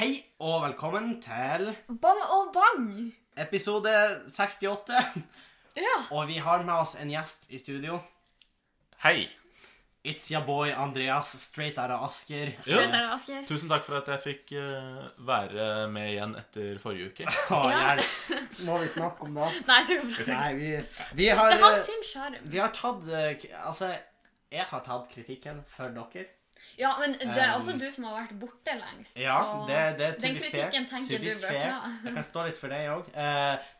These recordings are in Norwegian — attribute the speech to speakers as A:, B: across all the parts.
A: Hei og velkommen til
B: Bang og bang!
A: episode 68.
B: Ja.
A: Og vi har med oss en gjest i studio.
C: Hei!
A: It's your boy Andreas, straight out of Asker.
C: Ja.
B: Slutt der, Asker.
C: Tusen takk for at jeg fikk eh, være med igjen etter forrige uke.
A: Å,
B: Ja.
A: hjelp. Må vi snakke om det?
B: Nei, det går bra.
A: Nei, vi, vi
B: Det
A: har
B: er hans sin sjarm.
A: Vi har tatt eh, k- Altså, jeg har tatt kritikken for dere.
B: Ja, men det er
A: Um,
B: også du som har vært borte lengst. så
A: det, det er to
B: den
A: be fair.
B: kritikken
A: To
B: tenker du
A: be
B: bør
A: fair.
B: ta.
A: Jeg kan stå litt for deg òg.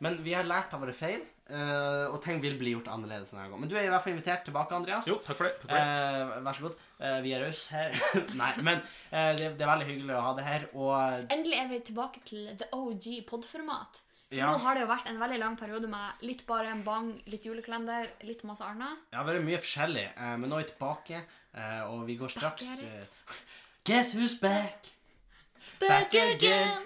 A: men vi har lært av våre feil, eh, og ting vil bli gjort annerledes denne gangen. Men du er i hvert fall invitert tilbake, Andreas.
C: Jo, takk for det. Takk for det.
A: Eh, vær så god. Eh, vi er raus her. Nei, men eh, det, det er veldig hyggelig å ha det her, og
B: Endelig er vi tilbake til the OG podformat. For
A: ja,
B: Nå har det jo vært en veldig lang periode med litt bare en bang, litt julekalender, litt masse annet.
A: det har vært mye forskjellig, eh, men nå er vi tilbake, eh, og vi går straks
B: Back at it.
A: eh, Guess who's back? Back again.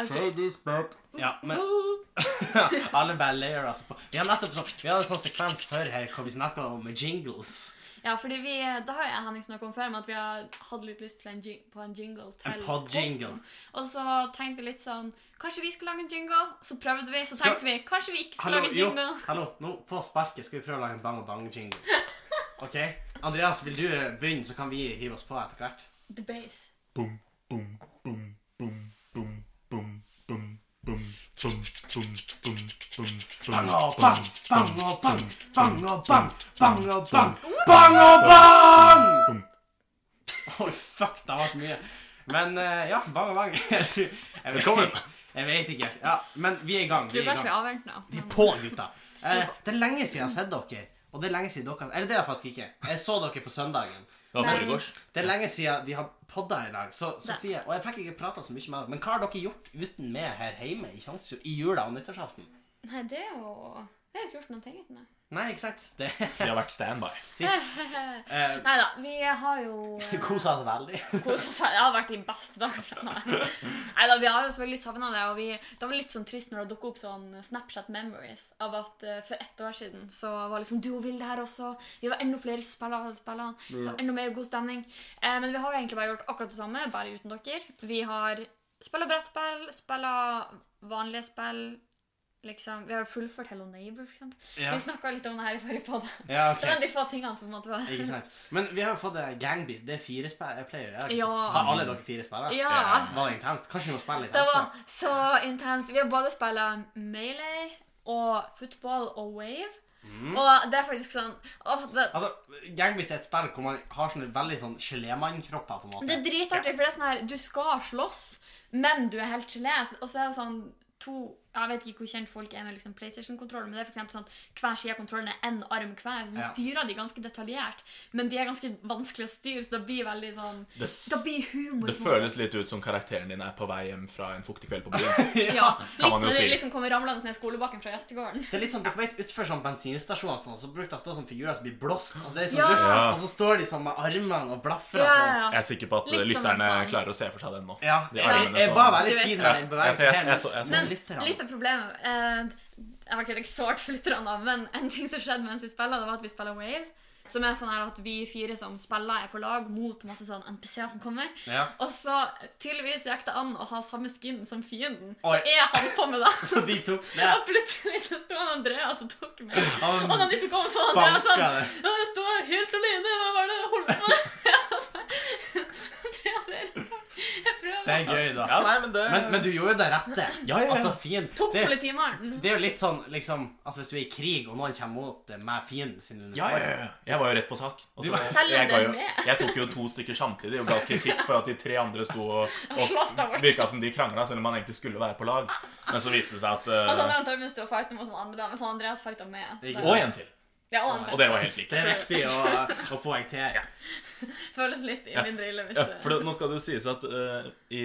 B: Ok.
A: Shady's back. Ja, men Alle bare ler altså på Vi har nettopp sånn- vi hadde en sånn sekvens før her hvor vi snakka om jingles.
B: Ja, fordi vi, da har jeg Henning snakket om før, men at vi har hatt litt lyst til en jing, på en jingle til
A: En podjingle.
B: podden. Og så tenkte vi litt sånn, kanskje vi skal lage en jingle? Så prøvde vi, så
A: Skal-
B: tenkte vi, kanskje vi ikke skal
A: Hallo,
B: lage en
A: jo,
B: jingle?
A: hallo, nå på sparket skal vi prøve å lage en bang og bang-jingle. OK? Andreas, vil du eh, begynne, så kan vi hive oss på etter hvert?
B: The base.
C: Boom, boom, boom, boom, boom, boom, boom, boom, boom, boom, boom, boom,
A: Bang
C: boom,
A: og
C: boom,
A: bang, bang
C: boom,
A: og bang, bang og bang, bang og bang,
C: bang,
A: bang og bang!
C: boom.
A: Oi, fuck, det har vært mye. Men eh, ja, bang og bang. Jeg tror- jeg vet-
C: Velkommen.
A: Jeg vet ikke. Ja, men vi er i gang. Vi
B: Tror
A: er i
B: kanskje vi
A: gang.
B: er avvent nå.
A: Vi er
B: men-
A: på, gutta. Eh, det er lenge siden jeg har sett dere. Og det er lenge siden dere Eller det er det faktisk ikke. Jeg så dere på søndagen.
C: Det var
B: Nei.
C: foregårs.
A: Det er lenge siden vi har podda i dag. Så Sofie, og jeg fikk ikke prata så mye med dere. Men hva har dere gjort uten meg her hjemme i Tjongsfjord i jula og nyttårsaften?
B: Nei, det er jo... Jeg har ikke gjort noen ting uten det.
A: Nei, ikke sant? Det
C: Vi har vært standby.
A: eh,
B: Neida, vi har jo... eh,
A: kosa oss veldig.
B: Kos oss. Jeg har vært de beste dagene fra meg. Neida, vi har jo selvfølgelig savnet det, og vi, det var litt sånn trist når det dukket opp sånn Snapchat memories av at eh, for ett år siden så var liksom du og Vilde her også, vi var enda flere spillere og spillere, det var enda mer god stemning. Eh, men vi har jo egentlig bare gjort akkurat det samme, bare uten dere. Vi har spillet brettspill, spillet vanlige spill, liksom. Vi har jo fullført Hello Neighbor, for eksempel.
A: Ja,
B: Vi snakket litt om det her i forrige podd.
A: ja
B: Det var
A: ok.
B: de få tingene som på en måte var...
A: Ikke sant. Men vi har jo fått eh, gangbeat. Det er fire spe- playere. er det ikke?
B: Ja.
A: Har alle dere fire spillere?
B: Ja.
A: Var det intenst? Kanskje vi må spille litt
B: Det
A: etterpå?
B: var så intenst. Vi har både spilt melee og football og wave. Og det er faktisk sånn åh, det,
A: Mm. Altså, Gangbeast er et spill hvor man har sånne veldig sånn gelémannkropper, på en måte.
B: det er dritartig, for det er sånn her Du skal slåss, men du er helt gelé. Og så er det sånn to Jeg vet ikke hvor kjent folk er med liksom PlayStation-kontroller, men det er for eksempel sånn at hver side av kontrollen er én arm hver, så du
A: Ja.
B: styrer de ganske detaljert. Men de er ganske vanskelig å styre, så det blir veldig sånn
C: Det, s-
B: Det blir humor.
C: det
B: på en måte.
C: føles litt ut som karakteren din er på vei hjem fra en fuktig kveld på byen.
B: ja,
C: kan man
B: litt
C: jo
B: når du
C: si.
B: liksom kommer ramlende ned skolebakken fra gjestegården.
A: Det er litt sånn, Dere vet utfor sånn bensinstasjoner og sånn, så bruker det å stå sånne figurer som blir blåst. Altså, det er sånn
B: Ja.
A: luft,
C: Ja.
A: Og så står de sånn med armene og blaffer
B: Ja,
A: og
B: ja,
A: sånn.
B: ja.
C: Jeg er sikker på at
B: Litt som en
C: lytterne
B: sånn-
C: klarer å se for seg den nå.
A: Ja,
C: De
A: jeg,
C: armene
A: jeg
C: sånn.
A: var
B: Du
A: veldig
B: vet
A: fin
B: det.
A: med den
C: Ja,
A: bevegelsen.
C: for jeg-
A: her,
C: jeg så- jeg så-
A: men
B: Men
A: lytterne-
B: litt av problemet eh, Jeg vet ikke, det er ikke sårt for lytterne, da, men en ting som skjedde mens vi spiller, det var at vi spiller Wave. Som er sånn her at vi fire som spiller, er på lag mot masse sånn NPC-er som kommer.
A: Ja.
B: Og så tydeligvis gikk det an å ha samme skin som fienden.
A: Oi.
B: Så er han på med det.
A: Så de to ja.
B: Og plutselig så sto han Andreas og tok meg.
A: Han
B: Og da de som kom, så var Andreas
A: banka
B: sånn
A: det.
B: «Ja, Jeg står helt alene, hva var det jeg holdt på med? Andreas er rett bak. Jeg prøver.
A: Det er gøy, da.
C: Ja, nei, men det
A: Men, men du gjorde jo det rette.
C: Ja, ja, ja.
A: Altså, fin.
B: Tok
A: Det,
B: politimaren.
A: det er jo litt sånn liksom Altså, hvis du er i krig, og noen kommer mot deg med fienden sin uniform
C: Ja, ja, ja. Jeg var jo rett på sak. Og
A: Du
C: så-
A: var-
B: Selv om
C: jeg, ga
B: det er
C: jo,
B: med.
C: jeg tok jo to stykker samtidig og ga kritikk for at de tre andre sto og,
B: Slåss der
C: og
B: borte.
C: virka som de krangla, selv om man egentlig skulle være på lag. Men så viste det seg at
B: Og så
C: eh,
B: Andreas Torben sto og fighta mot noen andre, mens Andreas fighta med. Så
A: Ikke
B: det-
A: sant?
C: Og en til.
B: Ja, og han
C: Og dere var helt like.
A: Det er viktig å, å poengtere.
B: føles litt i mindre ille hvis
C: Ja,
B: det
C: for det, nå skal det jo sies at eh, i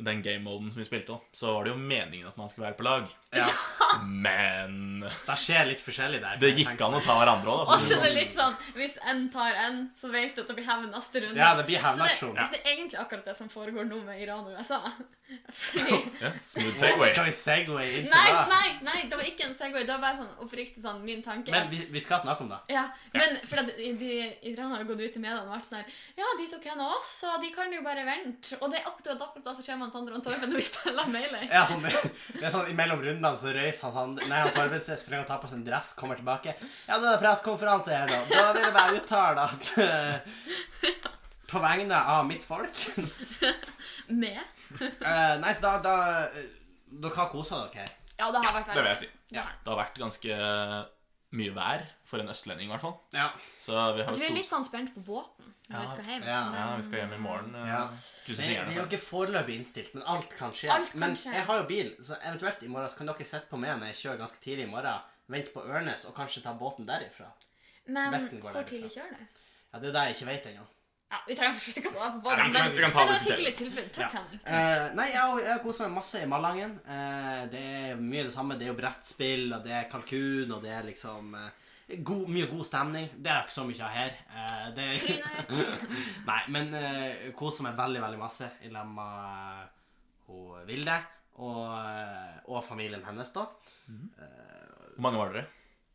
C: den game-moden som vi spilte, også, så var det jo meningen at man skulle være på lag.
A: Ja.
C: Men
A: Det skjer litt forskjellig der.
C: det gikk an å ta hverandre òg,
B: Og så
C: da.
B: er det litt sånn hvis en tar en, så vet du at det blir hevn neste runde.
A: Ja, det blir
B: så det,
A: hevnaksjon.
B: så det er egentlig akkurat det som foregår nå med Iran og USA. Fordi
C: Ja, smooth segway.
A: Skal vi segway inn til
B: Nei,
A: det?
B: nei, nei, det var ikke en Segway. Det var bare sånn oppriktig sånn min tanke.
A: Men vi, vi skal snakke om det.
B: Ja, men for at de, de iranerne har gått ut i mediene og vært sånn her Ja, de tok en av oss, så de kan jo bare vente. Og det er akkurat akkurat det som skjer Raymond, Sander og Torben når vi spiller Melee.
A: Ja, sånn, det er sånn, Imellom rundene så røyser han sånn Nei, han Torben ser- springer og tar på sin dress, kommer tilbake. Ja, det er pressekonferanse her, da. Da vil jeg bare uttale at eh, På vegne av mitt folk
B: Med.
A: Eh, Nei, så da, da eh, Dere har kosa dere?
B: Ja, det har vært
D: Det vil jeg si.
A: Ja.
D: Det har vært ganske mye vær for en østlending, i hvert fall.
A: Ja.
D: Så vi har
B: Altså, vi er
D: stor-
B: litt sånn spent på båten når
D: Ja,
B: vi skal hjem.
A: ja,
D: Ja, vi skal hjem i morgen. eh,
A: Ja.
D: Krysser
A: Det, det er jo
D: fingrene. for det.
A: ikke foreløpig innstilt, men alt kan skje.
B: Alt kan
A: men
B: skje.
A: jeg har jo bil, så eventuelt i morgen så kan dere sitte på meg når jeg kjører ganske tidlig i morgen. Vente på Ørnes og kanskje ta båten derifra.
B: Men
A: Vesten går
B: hvor
A: derifra.
B: tidlig kjører du?
A: Ja, Det er det jeg ikke vet ennå.
B: Ja, vi trenger fortsatt ikke å ta på
D: Nei,
B: båten,
D: vi kan-
B: men
D: vi kan
B: men
D: ta
B: det var
D: det
B: et
D: til-
B: hyggelig tilbud. Takk, Henrik.
A: Eh, nei, jeg har- jeg har kosa meg masse i Malangen. Eh, det er mye det samme. Det er jo brettspill, og det er kalkun, og det er liksom eh, god, Mye god stemning. Det er ikke så mye av her. Eh, det
B: Trynet ditt.
A: Nei, men uh, koser meg veldig, veldig masse i lag med eh, hun Vilde og, eh, og familien hennes, da.
D: Hvor mange var dere?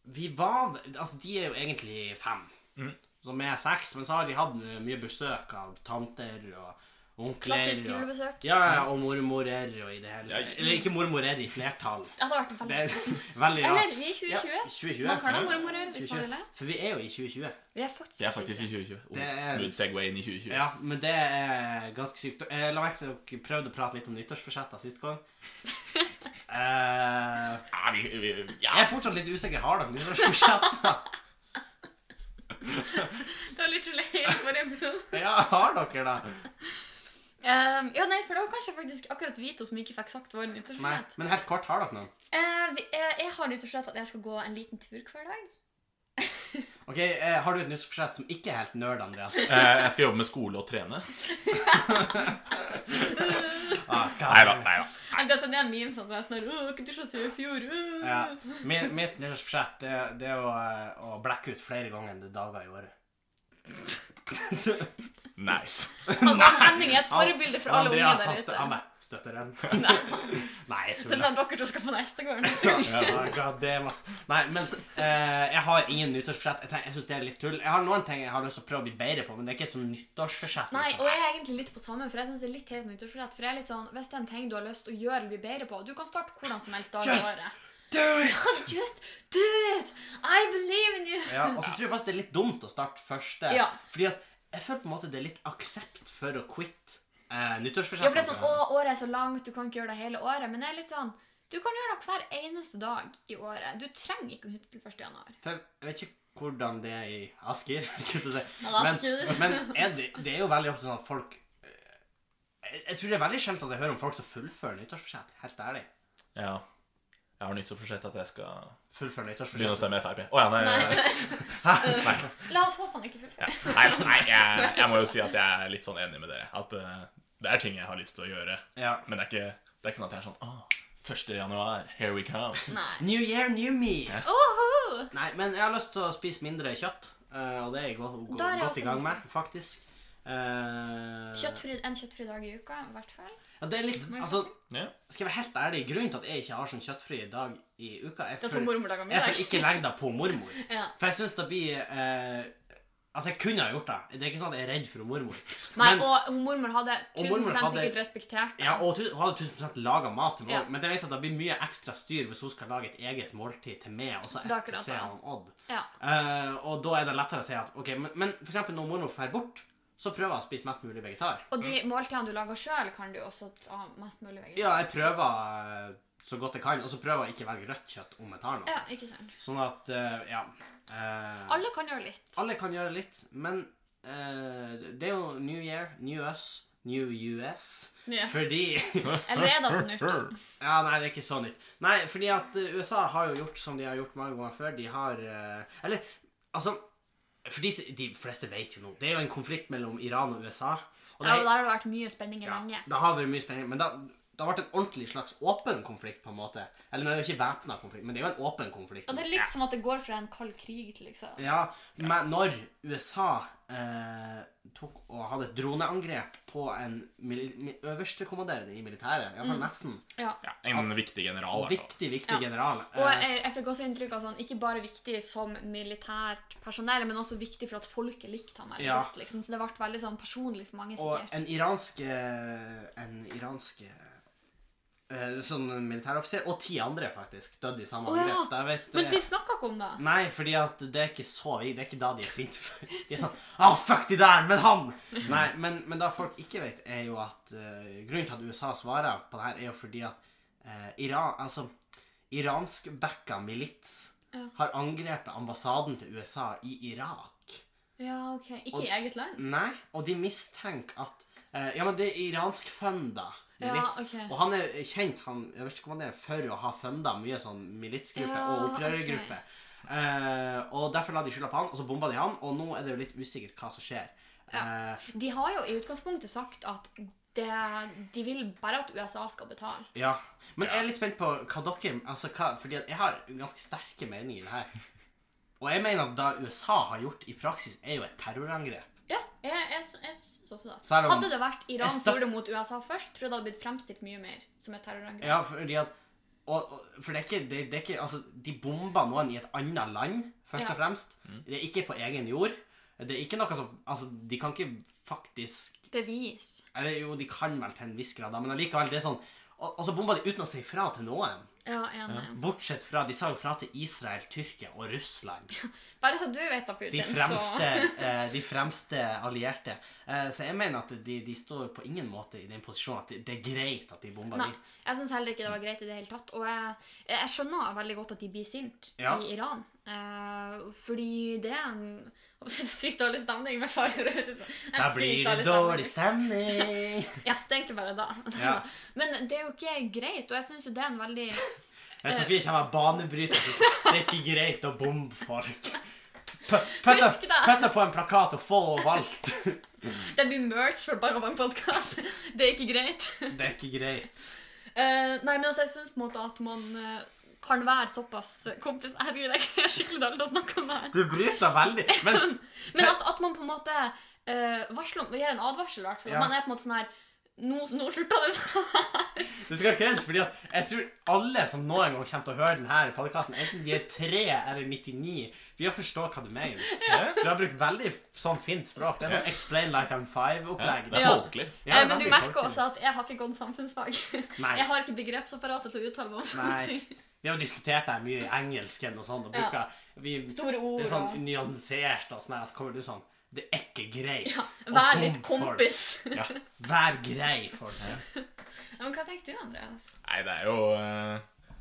A: Vi var Altså, de er jo egentlig fem. Så vi er seks, men så har de hatt mye besøk av tanter og onkler.
B: Klassisk
A: og-
B: julebesøk.
A: Ja, ja, og mormorer og i det hele
D: Ja,
A: tatt. Eller ikke mormorer i flertall.
B: Det hadde vært en
A: Det
B: felle.
A: er veldig
B: Eller
A: rart.
B: i
A: Ja,
B: 2020.
A: 2020.
B: Man kan ha mormorer hvis
A: 2020.
B: man vil det.
A: For vi er jo i 2020.
B: Vi er faktisk,
D: Det er faktisk i 2020. Oh,
A: Det er-
D: Smooth Segway inn i 2020.
A: Ja, men det er ganske sykt. Jeg la merke til at dere prøvde å prate litt om nyttårsforsetter sist gang. Eh,
D: Ja, vi, vi, ja.
A: jeg er fortsatt litt usikker. Har dere nyttårsforsetter?
B: Det var litt lei i forrige episode.
A: Ja, har dere det?
B: Ehm, ja, nei, for det var kanskje faktisk akkurat vi to som ikke fikk sagt vår
A: Nei,
B: nyttårsforsett.
A: men helt kort, har dere noen?
B: Eh, vi- eh, jeg har nyttårsforsett at jeg skal gå en liten tur hver dag.
A: Ok, eh, Har du et nyttårsforsett som ikke er helt nerd, Andreas?
D: Eh, Jeg skal jobbe med skole og trene.
A: Ah, hva-
D: Nei da. Nei da.
B: Nei, Det er sånn det er en meme sånn som er sånn her, «Åh, kan du ikke se i fjor? øh?»
A: Ja. Mitt, mitt nyttårsforsett det, er- det er å, eh, å blekke ut flere ganger enn det er dager i året.
D: Nice.
B: Han, han Henning Sånn, er et forbilde for alle unge
A: Andreas,
B: der
A: han stø- Han
B: ute.
A: bare støtter den.
B: Nei,
A: Nei, jeg tuller.
B: Den er dere to skal på neste gang. neste gang.
A: Ja, God damn, ass. Nei, men eh, jeg har ingen nyttårsforsett. Jeg, tenker- jeg syns det er litt tull. Jeg har noen ting jeg har lyst til å prøve å bli bedre på, men det er ikke et sånn nyttårsforsett.
B: Nei,
A: liksom.
B: og jeg er egentlig litt på samme, for jeg synes det er litt helt nyttårsforsett. For jeg er litt sånn, Hvis det er en ting du har lyst til å gjøre eller bli bedre på Du kan starte hvordan som helst dag i
A: Just
B: året.
A: Do it!
B: Just do it! I believe in you!
A: Ja, og så tror jeg faktisk det er litt dumt å starte første.
B: Ja.
A: Fordi at jeg føler på en måte det er litt aksept for å quitte eh, nyttårsforsettet.
B: Ja, for det er sånn, å, året er så langt, du kan ikke gjøre det hele året. Men det er litt sånn, du kan gjøre det hver eneste dag i året. Du trenger ikke å hytte til 1. januar.
A: For jeg vet ikke hvordan det er i Asker, skulle jeg til å si.
B: Asker.
A: Men, men er det, det er jo veldig ofte sånn at folk eh, jeg, jeg tror det er veldig sjelden at jeg hører om folk som fullfører nyttårsforsett. Helt ærlig.
D: Ja. Jeg har nyttårsforsett at jeg skal
A: Fullfører nyttårsforsett.
D: begynne å stemme Frp. Å ja,
A: Eh,
D: nei.
B: Nei. Eh,
D: Nei,
B: La oss håpe han ikke fullfører.
D: nei, nei jeg, jeg må jo si at jeg er litt sånn enig med dere. At eh, det er ting jeg har lyst til å gjøre.
A: Ja.
D: Men det er ikke, det er ikke sånn at jeg er sånn Åh, 1. januar, here we come.
B: Nei.
A: New year, new me.
B: Oho!
A: Nei, men jeg har lyst til å spise mindre kjøtt, eh, og det er jeg godt, godt,
B: Da er jeg også
A: i gang
B: litt-
A: med, faktisk. Eh,
B: Kjøttfri, en kjøttfri dag i uka, i hvert fall.
A: Ja, det er litt, altså,
D: Ja.
A: skal jeg være helt ærlig, grunnen til at jeg ikke har sånn kjøttfri dag i uka, er
B: Det er
A: for,
B: to mormordager
A: jeg
B: med
A: får
B: deg.
A: ikke legge det på mormor.
B: Ja.
A: For jeg synes det blir... eh, altså, jeg kunne ha gjort det. Det er ikke sånn at jeg er redd for mormor.
B: Nei,
A: Men-
B: og hun mormor hadde
A: Og mormor
B: 1000
A: hadde-
B: sikkert respektert
A: Ja,
B: deg.
A: og hun hadde 1000% laget mat til meg,
B: Ja.
A: men jeg vet at det blir mye ekstra styr hvis hun skal lage et eget måltid til meg, og så
B: Det er akkurat
A: etter
B: det.
A: ser han Odd.
B: Ja.
A: Eh, og da er det lettere å si at, ok, men, men for eksempel når mormor får bort, så prøver jeg å spise mest mulig vegetar.
B: Og de måltidene du lager sjøl, kan du også ta mest mulig vegetar.
A: Ja, jeg prøver eh, så godt jeg kan, og så prøver jeg ikke å velge rødt kjøtt om jeg tar noe.
B: Ja, ikke sant.
A: Sånn at, eh, ja. eh,
B: Alle kan gjøre litt.
A: alle kan gjøre litt, men eh, det er jo New Year, New Us, New US.
B: Ja.
A: Fordi
B: Eller er det altså nytt?
A: Ja, nei, det er ikke så nytt. Nei, fordi at eh, USA har jo gjort som de har gjort mange ganger før. De har eh, Eller, altså For de, de fleste vet jo nå. Det er jo en konflikt mellom Iran og USA. Og
B: Ja,
A: det,
B: og der har det vært mye spenning i
A: ja,
B: lenge.
A: det har vært mye spenning, men da det har vært en ordentlig slags åpen konflikt, på en måte. Eller det er jo ikke væpna konflikt, men det er jo en åpen konflikt.
B: Ja, det er litt som at det går fra en kald krig til liksom
A: Ja, men når USA eh, tok og hadde et droneangrep på en mili mi- øverstekommanderende i militæret, iallfall nesten,
B: Ja.
D: Ja, en viktig general, i hvert fall.
A: viktig, viktig
B: Mm. Ja.
A: general
B: Og
A: eh,
B: jeg, jeg fikk også inntrykk av at han ikke bare viktig som militært personell, men også viktig for at folket likte ham veldig
A: Ja.
B: godt. liksom. Så det ble veldig sånn personlig for mange,
A: Og
B: sikkert.
A: en iransk eh, En iransk eh, Sånn militæroffiser Og ti andre faktisk døde i samme
B: Å, ja.
A: angrep Da vet,
B: Men de
A: eh,
B: snakka ikke om det.
A: Nei, fordi at det er ikke så Det er ikke da de er sint for. De er sånn, ah fuck de der, men han Nei, men, men da folk ikke vet Er jo at eh, grunnen til at USA svarer på det her Er jo fordi at eh, Iran, altså Iransk bekka milits
B: Ja.
A: Har angrepet ambassaden til USA i Irak
B: Ja, ok. Ikke
A: Og-
B: i eget land.
A: Nei, og de mistenker at eh, Ja, men det er iransk funda.
B: Ja,
A: Milits.
B: ok.
A: Og han er kjent, han øverstekommanderende, for å ha funda mye sånn militsgruppe
B: Ja,
A: og opprørergruppe. Eh, og derfor la de skylda på han, og så bomba de han, og nå er det jo litt usikkert hva som skjer.
B: Ja.
A: Eh,
B: De har jo i utgangspunktet sagt at det, de vil bare at USA skal betale.
A: ja. Men jeg er litt spent på hva dere altså hva, Fordi at jeg har ganske sterke meninger i det her. Og jeg mener at det USA har gjort i praksis, er jo et terrorangrep.
B: Ja, jeg, jeg, sy- jeg syns også det.
A: Så er det om-
B: Hadde det vært Iran
A: Jeg
B: som
A: støt-
B: gjorde det mot USA først, tror jeg det hadde blitt fremstilt mye mer som et terrorangrep.
A: Ja, fordi at og, og, For det er ikke, det, det er ikke Altså, de bomber noen i et annet land, først
B: Ja.
A: og fremst. Det er ikke på egen jord. Det er ikke noe som Altså, de kan ikke faktisk
B: Bevis.
A: Eller jo, de kan vel til en viss grad, da, men allikevel, det er sånn og, og så bomba de uten å si fra til noen.
B: Ja, enig.
A: Bortsett fra De sa jo fra til Israel, Tyrkia og Russland.
B: Bare så du vet det, Putin,
A: De fremste,
B: så
A: eh, de fremste allierte. Eh, så jeg mener at de, de står på ingen måte i den posisjonen at det, det er greit at de bomber
B: Nei,
A: dit.
B: jeg syns heller ikke det var greit i det hele tatt. Og jeg, jeg skjønner veldig godt at de blir sint
A: Ja.
B: i Iran. Eh, fordi det er en jeg holdt på å si, det er sykt dårlig stemning med fare for å høres ut som- en
A: Da
B: sykt
A: blir
B: dårlig
A: det dårlig
B: stemning.
A: stemning.
B: Ja, det er egentlig bare da.
A: Ja.
B: Men det er jo ikke greit, og jeg syns jo det er en veldig
A: Men Sofie kommer banebryter. så Det er ikke greit å bombe folk. Pøtta
B: Husk det.
A: pøtta på en plakat og få henne valgt.
B: Det blir merch for Bang Podcast. Det er ikke greit.
A: Det er ikke greit.
B: Eh, nei, men altså, jeg syns på en måte at man eh, kan være såpass eh, kompis Herregud, jeg er skikkelig dårlig til å snakke om det her.
A: Du bryter veldig. Men
B: Men at, at man på en måte eh, varsler om Det gir en advarsel, i hvert fall.
A: Ja.
B: Man er på en måte sånn her Nå, nå slutta det. Eh,
A: du skal ha kreds, fordi at jeg tror alle som noen gang kommer til å høre denne podkasten, enten de er 3 eller 99, vil forstå hva du mener. Du har brukt veldig sånn fint språk. Det er sånn Explain like I'm
D: Ja,
A: five-opplegg.
D: det er
B: Ja.
D: folkelig.
A: Ja,
B: Eh, men du
A: veldig
B: merker
A: folkelig.
B: også at jeg har ikke gått samfunnsfag.
A: Nei.
B: Jeg har ikke begrepsapparatet til å uttale meg om sånne
A: Nei.
B: ting.
A: Vi har jo diskutert det mye i engelsken og sånn, og
B: Ja.
A: bruker vi
B: Store ord
A: Det er
B: og
A: sånn nyansert og sånn, her, og så kommer du sånn Det er ikke greit.
B: ja,
A: å
B: Vær litt
A: bombe folk.
B: kompis.
D: Ja.
A: Vær grei, folkens.
B: Ja, Men hva tenkte du, Andreas?
D: Nei, det er jo eh,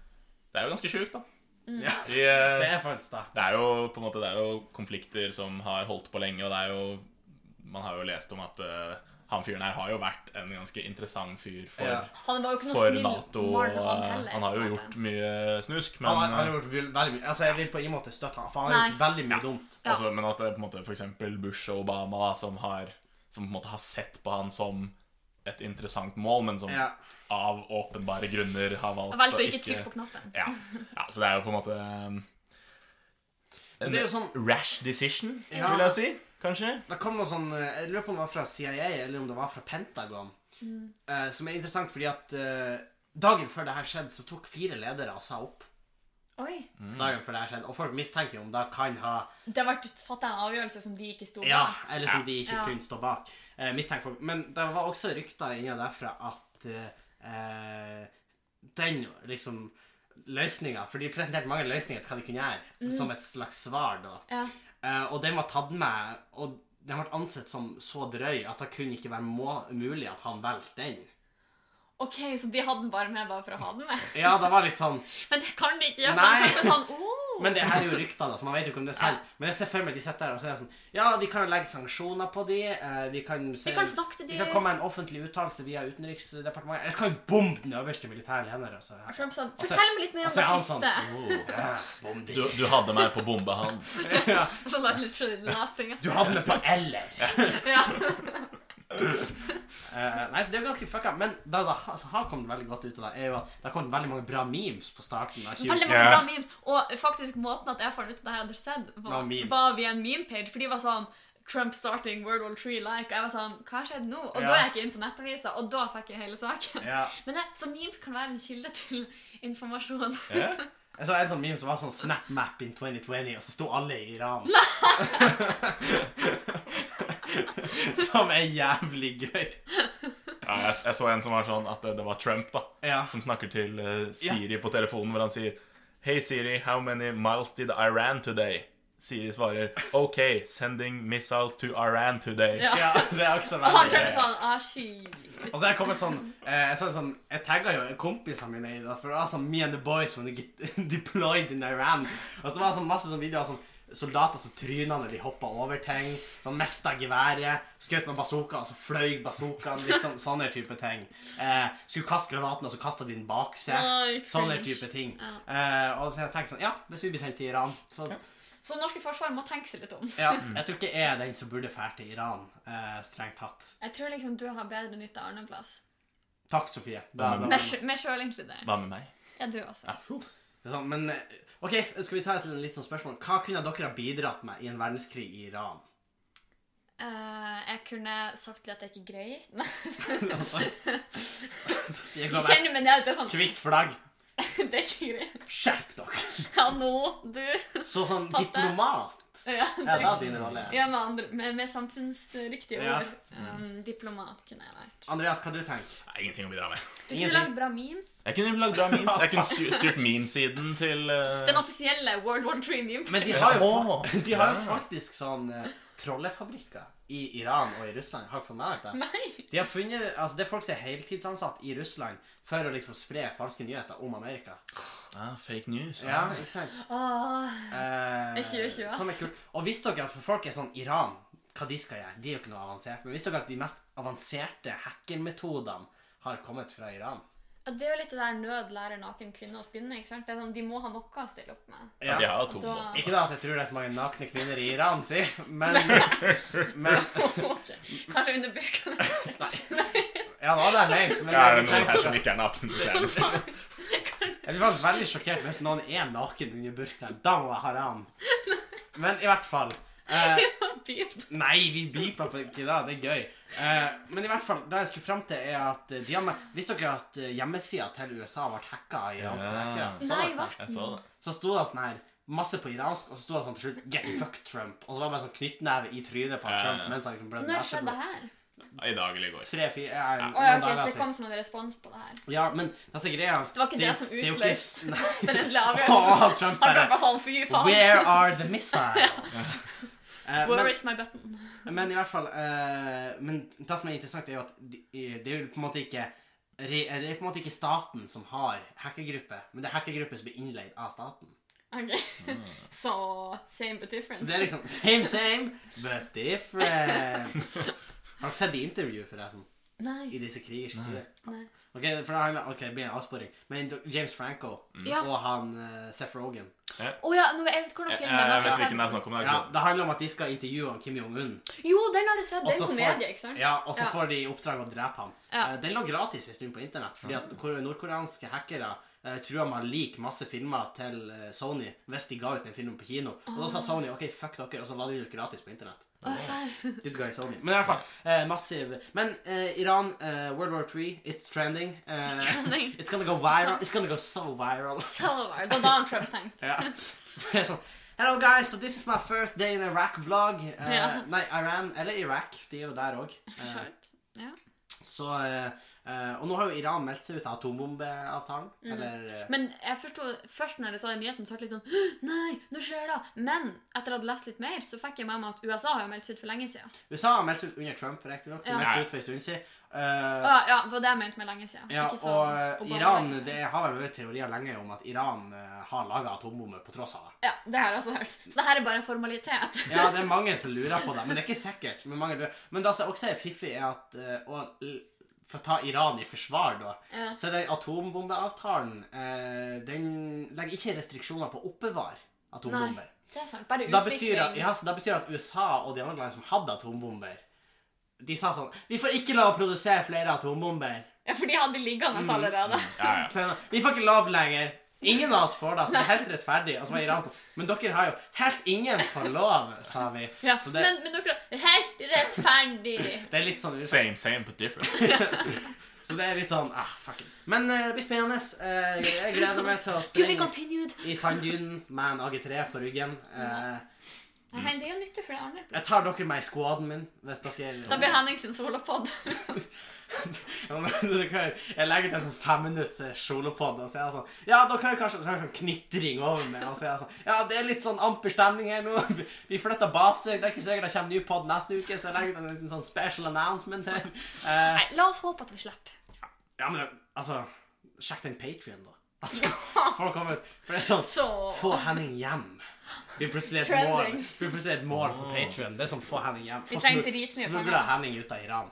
D: Det er jo ganske sjukt, da.
A: Ja,
D: De, eh,
A: det er faktisk det.
D: Det er jo på en måte, det er jo konflikter som har holdt på lenge, og det er jo Man har jo lest om at eh, han fyren her har jo vært en ganske interessant fyr for,
A: Ja.
B: Han var jo ikke noe
D: for
B: snill
D: Nato.
B: mann,
D: og,
B: han
D: eh,
B: heller.
D: han har
B: på
D: jo
B: en måte.
D: gjort mye snusk, men eh,
A: Han har, han har gjort vel- veldig mye Altså, jeg vil på ingen måte støtte han, for han har gjort veldig mye dumt.
B: Ja.
D: Altså, men at det er på en måte for eksempel Bush og Obama da, som, har, som på en måte har sett på han som et interessant mål, men som
A: Ja.
D: av åpenbare grunner har valgt,
B: Han valgte å ikke trykke på knappen.
D: Ja. ja, så det er jo på en måte um,
A: Men det er jo sånn-
D: rash decision,
A: Ja.
D: vil jeg si. Kanskje.
A: Det kom noe sånn eh, Jeg lurer på om det var fra CIA, eller om det var fra Pentagon, eh, som er interessant fordi at eh, Dagen før det her skjedde, så tok fire ledere og sa opp.
B: Oi,
A: Dagen før det her skjedde Og folk mistenker jo om det kan ha
B: Det ble fattet en avgjørelse som de ikke sto bak.
A: Ja, eller som
D: Ja.
A: de ikke
B: Ja.
A: kunne stå bak. Eh, mistenkt folk. Men det var også rykter inni derfra at eh, eh, den liksom løsninga For de presenterte mange løsninger til hva de kunne gjøre, som et slags svar, da.
B: Ja.
A: Eh, og den var tatt med, og den ble ansett som så drøy at det kunne ikke være må mulig at han valgte den.
B: Ok, Så de hadde den bare med bare for å ha den med?
A: Ja, det var litt sånn
B: Men det kan de ikke gjøre.
A: Nei.
B: for de tenker sånn, oh.
A: Men det her er jo rykter, da, så man vet jo ikke om det er sant. Men jeg ser for meg de sitter der og sier sånn Ja, vi kan jo legge sanksjoner på de. eh, Vi kan, se,
B: Vi kan snakke til de.
A: Vi kan komme med en offentlig uttalelse via Utenriksdepartementet. Jeg skal jo bombe den øverste militære altså. leder. Og så
B: Og Trump sånn,
A: så-
B: Fortell meg litt
A: og
B: mer om
A: så
B: det
A: er han
B: siste.
A: sånn «Wow, ja, bomb de.
D: Du, du hadde meg på bomba hans.
B: Sånn, like, literally the last thing I
A: Du
B: said.
A: hadde meg på eller.
B: Ja.
A: Eh, nei, så det er jo ganske fucka. Men det det ha- som har kommet veldig godt ut av det, er jo at det har kommet veldig mange bra memes på starten av
B: Veldig
A: 2020.
B: mange
D: Ja.
B: bra memes. Og faktisk måten at jeg fant ut at det her hadde skjedd,
A: Var
B: var,
A: memes.
B: var via en meme-page. For de var sånn Trump starting World War 3 like. Og jeg var sånn Hva har skjedd nå? Og
A: Ja.
B: da gikk jeg inn på nettavisa, og da fikk jeg hele saken.
A: Ja.
B: Men det, Så memes kan være en kilde til informasjon.
D: Ja.
A: Jeg så en sånn meme som var sånn 'Snap map in 2020', og så sto alle i Iran. som er jævlig gøy.
D: Ja, jeg, jeg så en som var sånn at det, det var Trump, da.
A: Ja.
D: Som snakker til eh, Siri på telefonen, hvor han sier Hey Siri, how many miles did Iran today? Siri svarer OK, sending missiles to Iran today.
B: Ja.
A: Ja, det er også
B: Og
A: veldig
B: han Trump
A: gøy.
B: sånn ah, shit.
A: Og så jeg kommet sånn eh, Jeg, så sånn, jeg tagga jo kompisene mine i det, for det var sånn Me and the boys when they get deployed in Iran. Og så var det sånn masse sånn videoer av sånn soldater som tryna når de hoppa over ting. Sånn mista geværet, skjøt med bazooka, og så fløy bazookaen. Liksom sånne type ting. Eh, skulle kaste granaten, og så kasta de den bak
B: Nei,
A: seg. Sånne
B: cringe.
A: type ting. Eh, og så jeg tenkte sånn Ja, hvis vi blir sendt til Iran, så
B: Så norske forsvar må tenke seg litt om.
A: Ja, jeg tror ikke jeg er den som burde dra til Iran, eh, strengt tatt.
B: Jeg tror liksom du har bedre nytte av Arneplass.
A: Takk, Sofie. Da- da-
B: Meg sj- meg sjøl inkludert.
D: Hva med meg?
B: Ja, du også.
A: Det er sant, men eh, ok, skal vi ta et litt sånn spørsmål. Hva kunne dere ha bidratt med i en verdenskrig i Iran?
B: Eh, jeg kunne sagt til at jeg ikke greier.
A: Altså, jeg går bare
B: Kjenner meg ned til sånn
A: Hvitt flagg.
B: Det er ikke greit.
A: Skjerp dere!
B: Ja, nå, du.
A: Så sånn
B: Pass deg.
A: diplomat
B: Ja,
A: er det
B: det-
A: din rolle.
B: ja med, andre, med, med samfunnsriktige
A: Ja.
B: ord. Um, diplomat kunne jeg vært.
A: Andreas, hva du tenker
D: Nei, ingenting å bidra med.
B: Du kunne
A: Ingenting.
B: lagd bra memes.
D: Jeg kunne lagd bra memes. Jeg kunne styr, styrt memesiden til eh,
B: Den offisielle World War III-meme.
A: Men de har jo,
D: Åh.
A: fa- de har jo faktisk sånn eh, trollefabrikker i Iran og i Russland. Har dere fått med dere det?
B: Nei.
A: De har funnet, altså Det er folk som er heltidsansatt i Russland for å liksom spre falske nyheter om Amerika.
D: ah, Fake news.
A: Ja, ikke sant?
B: Åh,
A: Eh,
B: Jeg sier jo ikke, ass.
A: som er kult. Og visste dere at for folk er sånn Iran, hva de skal gjøre, de er jo ikke noe avansert. Men visste dere at de mest avanserte hackermetodene har kommet fra Iran?
B: ja, det er jo litt det der nød lærer naken kvinne å spinne. ikke sant? Det er sånn, De må ha noe å stille opp med.
D: Ja, de har
B: Da-
D: atomvåpen.
A: Ikke da at jeg tror det er så mange nakne kvinner i Iran, si, men, men
B: Ok, Kanskje under buskene.
A: Ja, det var det jeg mente. Men
D: Ja, er det noen her som ikke er naken? Beklager.
A: Jeg blir faktisk veldig sjokkert hvis noen er naken under burkaen. Da må jeg ha ran. Men i hvert fall eh,
B: Beep.
A: Nei, vi beeper på ikke da, det er gøy. Eh, men i hvert fall, det jeg skulle frem til, er at eh, de har med, Visste dere at eh, hjemmesida til USA ble hacka av iranske
D: Ja.
A: hackere? Så
B: Nei,
A: dere
B: hva?
A: det?
D: Jeg så det.
A: Så sto det sånn her masse på iransk, og så sto det sånn til slutt 'Get fucked Trump'. Og så var det bare sånn knyttneve i trynet på
D: Ja, ja, ja.
A: Trump mens han liksom blødde
B: Når skjedde det
A: neseblod.
B: her?
D: I dag eller i går.
A: Tre, fire ja,
B: Å ja,
A: noen
B: ok,
A: dager
B: så det
A: siden.
B: kom som en respons på det her.
A: Ja, men det som er greia
B: Det var ikke det som
A: er jo ikke-
B: utløste
A: Nei.
B: Den endelige
A: Å,
B: avgjørelsen.
A: Trump
B: Han ble
A: bare
B: bare sånn, fy faen.
A: Where are the missiles? Eh, men-
B: Where is my button?
A: Men i hvert fall eh, Men det som er interessant, er jo at de, det er jo på en måte ikke re- eh, det er på en måte ikke staten som har hackergruppe, men det er hackergruppe som blir innleid av staten.
B: Ok, Så same but
A: Mm.
B: different.
A: Så det er liksom same, same, but different. Har dere sett i intervju, forresten?
B: Nei.
A: I disse krigerske tider?
B: Nei.
A: Ok, for da, ok, det blir en avsporing. Men James Franco
B: Ja.
A: og han eh, Seth Rogan
B: Å ja, nå, jeg vet hvordan
D: Jeg,
A: Eh,
D: jeg,
B: filmen er.
D: jeg vet
B: men jeg
D: ikke hva det
B: har
D: er snakk om. Det er
A: ja,
D: ikke
A: Det handler om at de skal intervjue han Kim Jong-un.
B: sett- Jo, den har jeg sett. Det
A: Og
B: er
A: så
B: en
A: får-
B: komedie, ikke sant?
A: Ja, og så
B: Ja.
A: får de i oppdrag å drepe ham.
B: Ja.
A: Eh, Den lå gratis en stund på internett, fordi at kor- nordkoreanske hackere eh, trua med å like masse filmer til eh, Sony hvis de ga ut den filmen på kino. Og da sa Sony OK, fuck dere, og så la de det ut gratis på internett.
B: Å, serr.
A: Good guy Sony. Men i hvert fall, eh, massiv Men eh, Iran, eh, World War 3, it's trending. Eh,
B: trending.
A: it's gonna go viral. It's gonna go so viral.
B: Så var det. Det var da han Trump tenkte.
A: Ja. Så det er sånn Hello guys, so this is my first day in Iraq vlog. Eh,
B: Ja.
A: Nei, Iran, eller Iraq, de er jo der Eh, òg.
B: For så vidt. Ja.
A: Så, eh, eh, og nå har jo Iran meldt seg ut av atombombeavtalen.
B: Mm.
A: Eller eh,
B: Men jeg forstod, først når jeg så den nyheten, så ble jeg litt sånn Nei, nå skjer det! Men etter å ha lest litt mer, så fikk jeg med meg at USA har jo meldt seg ut for lenge siden.
A: USA har meldt seg ut under Trump, riktignok. De
B: Ja.
A: meldte seg ut for en stund siden. Eh,
B: Å, Ah, ja, det var det jeg mente med lenge siden.
A: ja,
B: ikke så
A: og eh,
B: Obama
A: Iran
B: lenge siden.
A: Det har vel vært teorier lenge om at Iran eh, har laga atombomber på tross av det.
B: Ja, det har jeg også hørt. Så det her er bare en formalitet.
A: Ja, det er mange som lurer på det, men det er ikke sikkert. Men, mange lurer. men det som også er fiffig, er at eh, og, l- For å ta Iran i forsvar, da,
B: Ja.
A: så er den atombombeavtalen eh, Den legger ikke restriksjoner på å oppbevare
B: Nei,
A: atombomber.
B: det er sant. Bare
A: Så da,
B: utvikling.
A: betyr at, ja, så da betyr at USA og de andre landene som hadde atombomber, De sa sånn Vi får ikke lov å produsere flere atombomber.
B: Ja, for de hadde
A: Mm.
B: liggende allerede.
D: Ja, ja.
A: Så jeg sa, Vi får ikke lov lenger. Ingen av oss får det, så det er helt rettferdig. Og så var Iran sånn Men dere har jo helt ingen får lov, sa vi.
B: Ja,
A: Så det,
B: men, men dere Helt rettferdig!
A: det er litt sånn
D: Same, same, but different.
A: Så det er litt sånn ah, fuck it. Men eh, det blir spennende. Eh, jeg gleder meg til å
B: To be
A: springe
B: continued.
A: i sanddynen med en AG3 på ryggen. Eh,
B: Nei, det er jo nyttig for det Arne.
A: jeg tar dere med i squaden min hvis
B: Da
A: dere
B: blir Henningsen solopod.
A: Ja, men dere kan, jeg legger ut en sånn femminutts solopod, og så er jeg sånn Ja, da kan jeg kanskje så er det sånn knitring over meg. Og så er jeg sånn Ja, det er litt sånn amper stemning her nå. Vi- Vi flytter base. Det er ikke sikkert det kommer ny pod neste uke, så jeg legger ut en liten sånn special announcement her. Eh,
B: Nei, la oss håpe at vi slipper.
A: ja, men altså Sjekk den Patrion, da. Altså, folk kommer ut. For det er sånn
B: Så
A: Få Henning hjem. Blir plutselig et
B: Trending.
A: mål Blir plutselig et mål på Patrion. Det er sånn få Henning hjem. Få
B: Vi trengte
A: smug-
B: dritmye penger.
A: smugla Henning ut av Iran.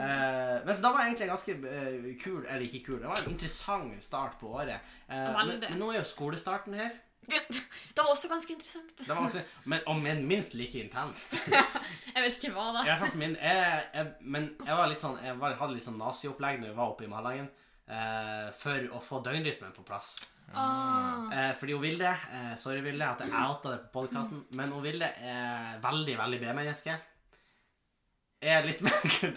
A: Eh, men så da var egentlig en ganske eh, kul Eller ikke kul, det var en interessant start på året. Eh, men,
B: Veldig.
A: men nå er jo skolestarten her.
B: Det det var også ganske interessant.
A: Det var også, men, og men minst like intenst.
B: Jeg vet ikke hva
A: I
B: det er.
A: hvert fall for min jeg, jeg, Men jeg var litt sånn Jeg var, hadde litt sånn naziopplegg når jeg var oppe i Malangen. eh, for å få døgnrytmen på plass.
B: Ah.
A: Eh, fordi hun Vilde eh, Sorry, Vilde, at jeg outa det på podkasten. Men hun Vilde er veldig, veldig B-menneske. Er litt mer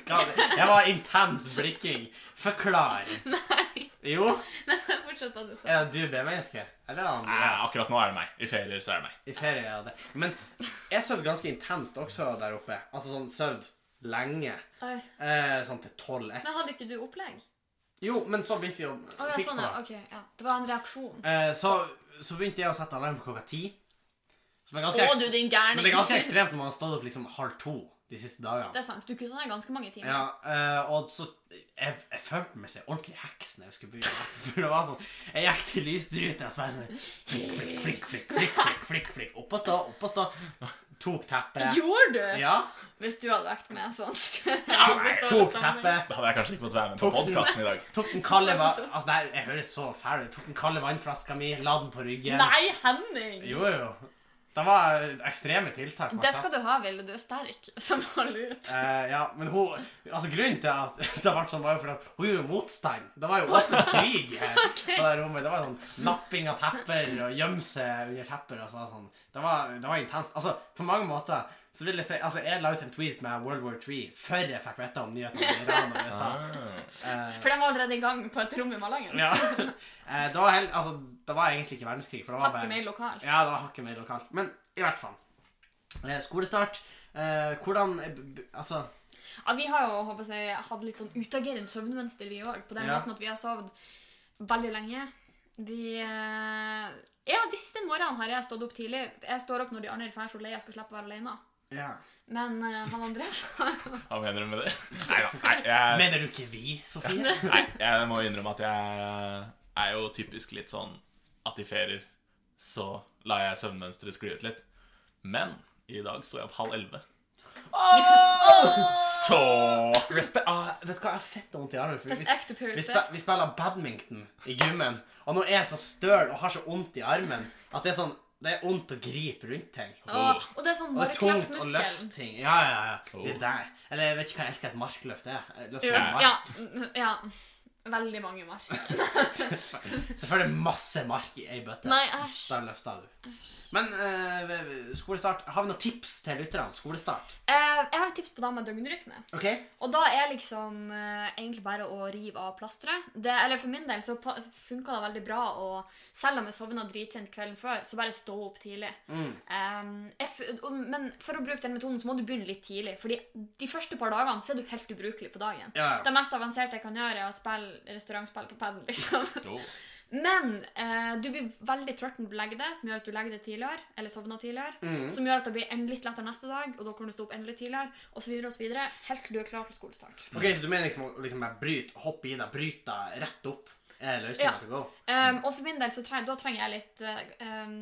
A: Hva er det? Jeg var intens blikking. Forklar.
B: Nei.
A: Jo.
B: Nei, men fortsett hva du sa.
A: Er du B-menneske? Eller er det
D: Nei,
A: Andreas?
D: akkurat nå er det meg. I ferier så er det meg.
A: I ferie er det. Men jeg sov ganske intenst også der oppe. Altså sånn sovd lenge.
B: Oi.
A: Eh, sånn til
B: Men
A: 12-1.
B: hadde ikke du opplegg?
A: Jo, men så begynte vi å
B: Å ja,
A: fikse
B: sånn
A: på
B: ja.
A: det.
B: Ok, ja. Det var en reaksjon.
A: Eh, så, så begynte jeg å sette alarm på klokka ti. Som er
B: Å,
A: ganske
B: du
A: ekstremt.
B: din gærning.
A: Men det er ganske ekstremt når man har stått opp liksom halv to de siste dagene.
B: Det er sant. Du kunne sånn her ganske mange timer.
A: Ja, eh, og så jeg, jeg følte meg som en ordentlig heks når jeg skulle begynne. For det var sånn Jeg gikk til lysbryteren og så var jeg sånn Flikk, flikk, flikk, flikk, flikk, flikk, flikk, flikk. Opp og stå, opp og stå. Tok teppet.
B: Gjorde du?
A: Ja.
B: Hvis du hadde vært med sånn.
D: Ja, nei,
A: Tok teppet.
D: Da hadde jeg kanskje ikke fått være med på
A: Tok den-
D: podkasten i dag.
A: Tok den kalde va- Altså, nei, jeg høres så fæl ut. Tok den kalde vannflaska mi, la den på ryggen.
B: liksom. Nei, Henning!
A: Jo, jo. Det var ekstreme tiltak. man
B: Det
A: tatt.
B: skal du ha, Ville. Du er sterk som har lurt.
A: Eh, ja, men hun Altså, grunnen til at det ble sånn, var jo fordi at hun gjorde motstand. Det var jo åpen krig her. på det rommet. Det var sånn napping av tepper og gjemse under tepper og så var det sånn. Det var, det var intenst. Altså, på mange måter så vil jeg si Altså, jeg la ut en tweet med World War 3 før jeg fikk vite om nyhetene i Iran og USA. Eh,
B: For den var allerede i gang på et rom i Malangen.
A: ja. Eh, det var hel, altså, det var egentlig ikke verdenskrig, for det var
B: Hakket
A: bare
B: mer lokalt.
A: Ja, det var hakket mer lokalt. Men i hvert fall. Eh, skolestart. Eh, hvordan eh, b- b- Altså
B: Ja, vi har jo håper jeg, hatt litt sånn utagerende søvnmønster, vi òg. På den
A: Ja.
B: måten at vi har sovet veldig lenge. Vi eh, Ja, de siste morgenene har jeg stått opp tidlig. Jeg står opp når de andre drar, så lei jeg skal slippe å være alene.
A: ja.
B: Men eh, han Andreas
D: Hva mener du med det? Nei da. Nei, jeg,
A: Mener du ikke vi, Sofie?
D: nei, jeg må innrømme at jeg er jo typisk litt sånn at i ferier så lar jeg søvnmønsteret skli ut litt. Men i dag sto jeg opp halv elleve. Så
A: Respe ah, vet du hva, jeg har fett vondt i armen. for
B: Just
A: Vi,
B: after pure
A: vi, spe
B: respect.
A: vi spiller badminton i gymmen, og nå er jeg så støl og har så vondt i armen at det er sånn det er vondt å gripe rundt ting. Og
B: Og, og det er sånn
A: det
B: bare
A: er tungt å løfte
B: kraftmuskelen.
A: ting. Ja, ja, ja. Det
D: Oh.
A: er der. Eller jeg vet ikke hva jeg elsker et markløft er. Eh, Løft
B: Jo,
A: med mark.
B: Ja, ja. Veldig mange mark.
A: Selvfølgelig masse mark i ei bøtte.
B: Nei, æsj.
A: Da løfter du. Men eh, ved- ved skolestart Har vi noen tips til lytterne? Skolestart.
B: Eh, jeg har et tips på det med døgnrytme.
A: OK?
B: Og da er liksom eh, egentlig bare å rive av plasteret. Det, eller for min del så pa- så funka det veldig bra å Selv om jeg sovna dritsent kvelden før, så bare stå opp tidlig.
A: Mm.
B: Em, jeg f og- men for å bruke den metoden så må du begynne litt tidlig. Fordi de første par dagene så er du helt ubrukelig på dagen.
A: Ja, ja.
B: Det mest avanserte jeg kan gjøre, er å spille restaurantspill på padel, liksom.
D: jo.
B: Men eh, du blir veldig trøtt når du legger deg, som gjør at du legger deg tidligere. Eller sovner tidligere.
A: Mm.
B: Som gjør at det blir en litt lettere neste dag, og da kan du stå opp enda litt tidligere. Og så videre og så videre, helt til du er klar til skolestart.
A: Ok, Så du mener liksom å liksom, bare bryt, hoppe i deg, bryt deg rett opp? Er
B: Ja.
A: løsninga til go?
B: Um, og for min del så trenger, da trenger jeg litt eh, um,